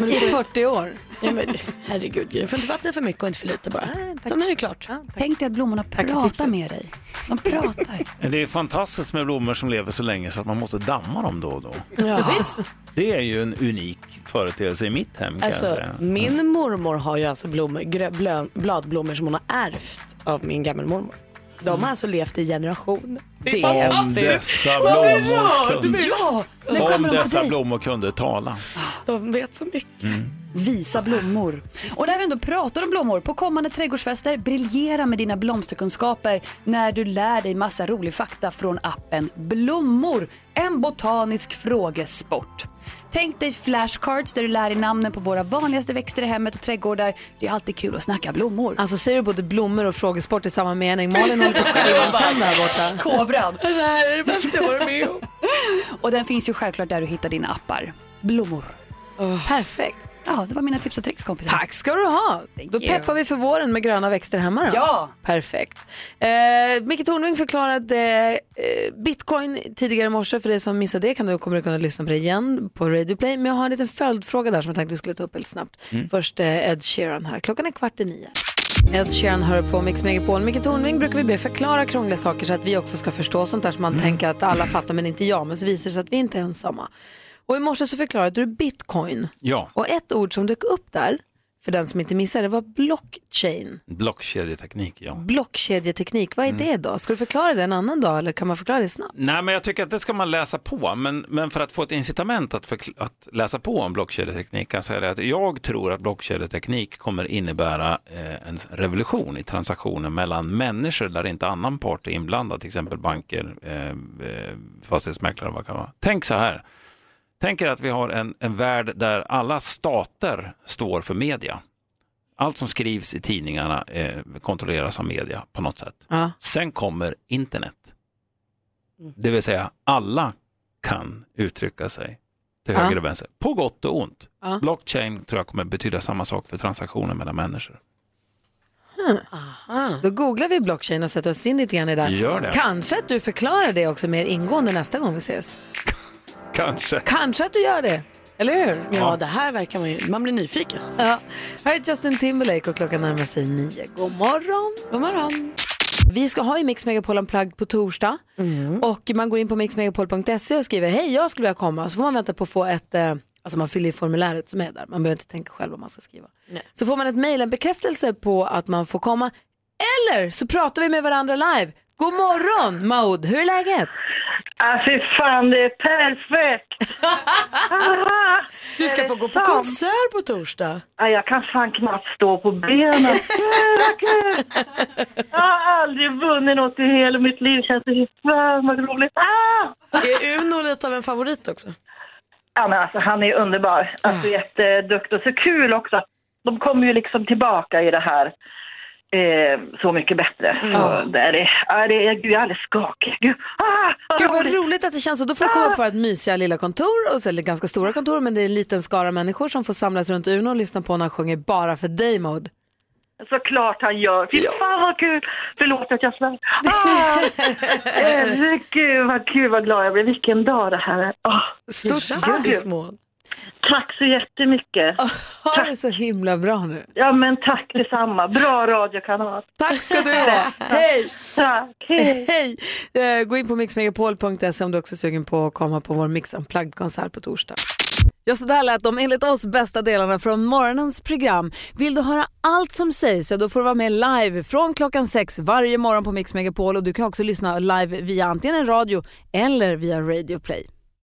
[SPEAKER 3] Mm.
[SPEAKER 2] I 40 år.
[SPEAKER 3] Ja, men, herregud, du får inte vattna för mycket och inte för lite bara. Sen är det klart.
[SPEAKER 17] Tänk dig att blommorna pratar med dig. De pratar.
[SPEAKER 22] Det är fantastiskt med blommor som lever så länge så att man måste damma dem då och då.
[SPEAKER 3] Ja, visst.
[SPEAKER 22] Det är ju en unik företeelse i mitt hem kan jag
[SPEAKER 3] Alltså,
[SPEAKER 22] säga. Mm.
[SPEAKER 3] min mormor har ju alltså blommor, grö, blö, bladblommor som hon har ärvt av min gammelmormor. De
[SPEAKER 17] Mm.
[SPEAKER 3] har alltså levt i generationer.
[SPEAKER 22] Om dessa
[SPEAKER 3] Vad
[SPEAKER 22] blommor
[SPEAKER 3] rörd du
[SPEAKER 22] kunde,
[SPEAKER 3] blir. Ja, när
[SPEAKER 22] om
[SPEAKER 3] kommer de till
[SPEAKER 22] dessa
[SPEAKER 3] dig?
[SPEAKER 22] blommor kunde tala.
[SPEAKER 3] De vet så mycket.
[SPEAKER 17] Visa blommor. Och när vi ändå pratar om blommor, på kommande trädgårdsfester, briljera med dina blomsterkunskaper när du lär dig massa rolig fakta från appen Blommor, en botanisk frågesport. Tänk dig flashcards där du lär dig namnen på våra vanligaste växter i hemmet och trädgårdar. Det är alltid kul att snacka blommor.
[SPEAKER 2] Alltså säger du både blommor och frågesport i samma mening? Malin håller på
[SPEAKER 17] (laughs)
[SPEAKER 2] att självantänd här borta.
[SPEAKER 17] Kobran.
[SPEAKER 3] Det här är det bästa jag varit med om.
[SPEAKER 17] Och den finns ju självklart där du hittar dina appar. Blommor.
[SPEAKER 2] Perfekt.
[SPEAKER 17] Ja, det var mina tips och tricks kompisar.
[SPEAKER 2] Tack ska du ha. Då
[SPEAKER 17] you.
[SPEAKER 2] peppar vi för våren med gröna växter hemma då.
[SPEAKER 17] Ja.
[SPEAKER 2] Perfekt. Eh, Micke Tornving förklarade eh, bitcoin tidigare i morse. För dig som missade det kan du, kommer du kunna lyssna på det igen på Radio Play. Men jag har en liten följdfråga där som jag tänkte vi skulle ta upp helt snabbt.
[SPEAKER 7] Mm.
[SPEAKER 2] Först eh, Ed Sheeran här. Klockan är kvart i nio. Ed Sheeran hör på Mix Megapol. Micke Tornving brukar vi be förklara krångliga saker så att vi också ska förstå sånt där som man tänker att alla fattar men inte jag. Men så visar det sig att vi inte är ensamma. Och i morse så förklarade du bitcoin.
[SPEAKER 22] Ja,
[SPEAKER 2] Och ett ord som dök upp där, för den som inte missade, det var blockchain.
[SPEAKER 22] blockkedjeteknik. Ja.
[SPEAKER 2] Blockkedjeteknik, vad är
[SPEAKER 22] Mm.
[SPEAKER 2] det då? Ska du förklara det en annan dag eller kan man förklara det snabbt?
[SPEAKER 22] Nej, men jag tycker att det ska man läsa på. Men, men för att få ett incitament att, förkl- att läsa på om blockkedjeteknik kan jag säga det att jag tror att blockkedjeteknik kommer innebära eh, en revolution i transaktioner mellan människor där inte annan part är inblandad, till exempel banker, eh, eh, fastighetsmäklare, vad det kan vara. Tänk så här. Tänk er att vi har en, en värld där alla stater står för media. Allt som skrivs i tidningarna eh, kontrolleras av media på något sätt.
[SPEAKER 2] Ja.
[SPEAKER 22] Sen kommer internet. Det vill säga alla kan uttrycka sig till
[SPEAKER 10] Ja.
[SPEAKER 22] höger och vänster, på gott och ont.
[SPEAKER 2] Ja.
[SPEAKER 22] Blockchain tror jag kommer betyda samma sak för transaktioner mellan människor.
[SPEAKER 2] Hmm. Då googlar vi blockchain och sätter oss in lite grann i det.
[SPEAKER 22] Gör det.
[SPEAKER 2] Kanske att du förklarar det också mer ingående nästa gång vi ses.
[SPEAKER 22] Kanske.
[SPEAKER 2] Kanske att du gör det, eller hur?
[SPEAKER 3] Ja, det här verkar man ju... Man blir nyfiken.
[SPEAKER 2] Ja. Här är Justin Timberlake och klockan närmar sig nio. God morgon!
[SPEAKER 3] God morgon!
[SPEAKER 2] Vi ska ha i Mix Megapol Unplugged på torsdag. Och man går in på mixmegapol.se och skriver hej jag skulle vilja komma. Så får man vänta på att få ett, eh, alltså man fyller i formuläret som är där. Man behöver inte tänka själv vad man ska skriva. Så får man ett mejl, en bekräftelse på att man får komma. Eller så pratar vi med varandra live. God morgon Maud, hur är läget?
[SPEAKER 9] Ah, fy fan, det är
[SPEAKER 2] (laughs)
[SPEAKER 9] perfekt! (laughs) Aha,
[SPEAKER 3] Du ska
[SPEAKER 9] är
[SPEAKER 3] få
[SPEAKER 9] det
[SPEAKER 3] gå på
[SPEAKER 9] sant?
[SPEAKER 3] konsert på torsdag.
[SPEAKER 9] Ah, jag kan fan knappt stå på benen. Herregud. Jag har aldrig vunnit något i hela mitt liv. Känns det fy fan vad roligt. Ah!
[SPEAKER 3] Är Uno lite av en favorit också?
[SPEAKER 9] Ja, men alltså, han är underbar. Alltså, Jätteduktig och så kul också. De kommer ju liksom tillbaka i det här eh, Så mycket bättre.
[SPEAKER 3] Mm.
[SPEAKER 9] Så det är, ja, det är, gud, jag är alldeles skakig. Gud, ah,
[SPEAKER 2] Gud vad roligt att det känns så. Då får du komma upp på vårt mysiga lilla kontor, och så, eller ganska stora kontor, men det är en liten skara människor som får samlas runt Uno och lyssna på när han sjunger bara för dig Maud.
[SPEAKER 9] Såklart han gör. Fy fan vad kul! Förlåt att jag svär.
[SPEAKER 3] (laughs)
[SPEAKER 9] Ah! Eh, Herregud vad kul, vad glad jag blev. Vilken dag det här är. Oh.
[SPEAKER 2] Stort
[SPEAKER 9] grattis Tack så jättemycket.
[SPEAKER 2] (laughs) Ha det så himla bra nu.
[SPEAKER 9] Ja men tack detsamma. Bra radiokanal.
[SPEAKER 2] Tack ska
[SPEAKER 9] (laughs)
[SPEAKER 2] du ha. Hej!
[SPEAKER 9] Tack, hej.
[SPEAKER 2] (laughs) Hej! Eh, Gå in på mixmegapol.se om du också är sugen på att komma på vår Mix Unplugged-konsert på torsdag. Ja, så där lät de enligt oss bästa delarna från morgonens program. Vill du höra allt som sägs så då får du vara med live från klockan sex varje morgon på Mix Megapol och du kan också lyssna live via antingen en radio eller via Radio Play.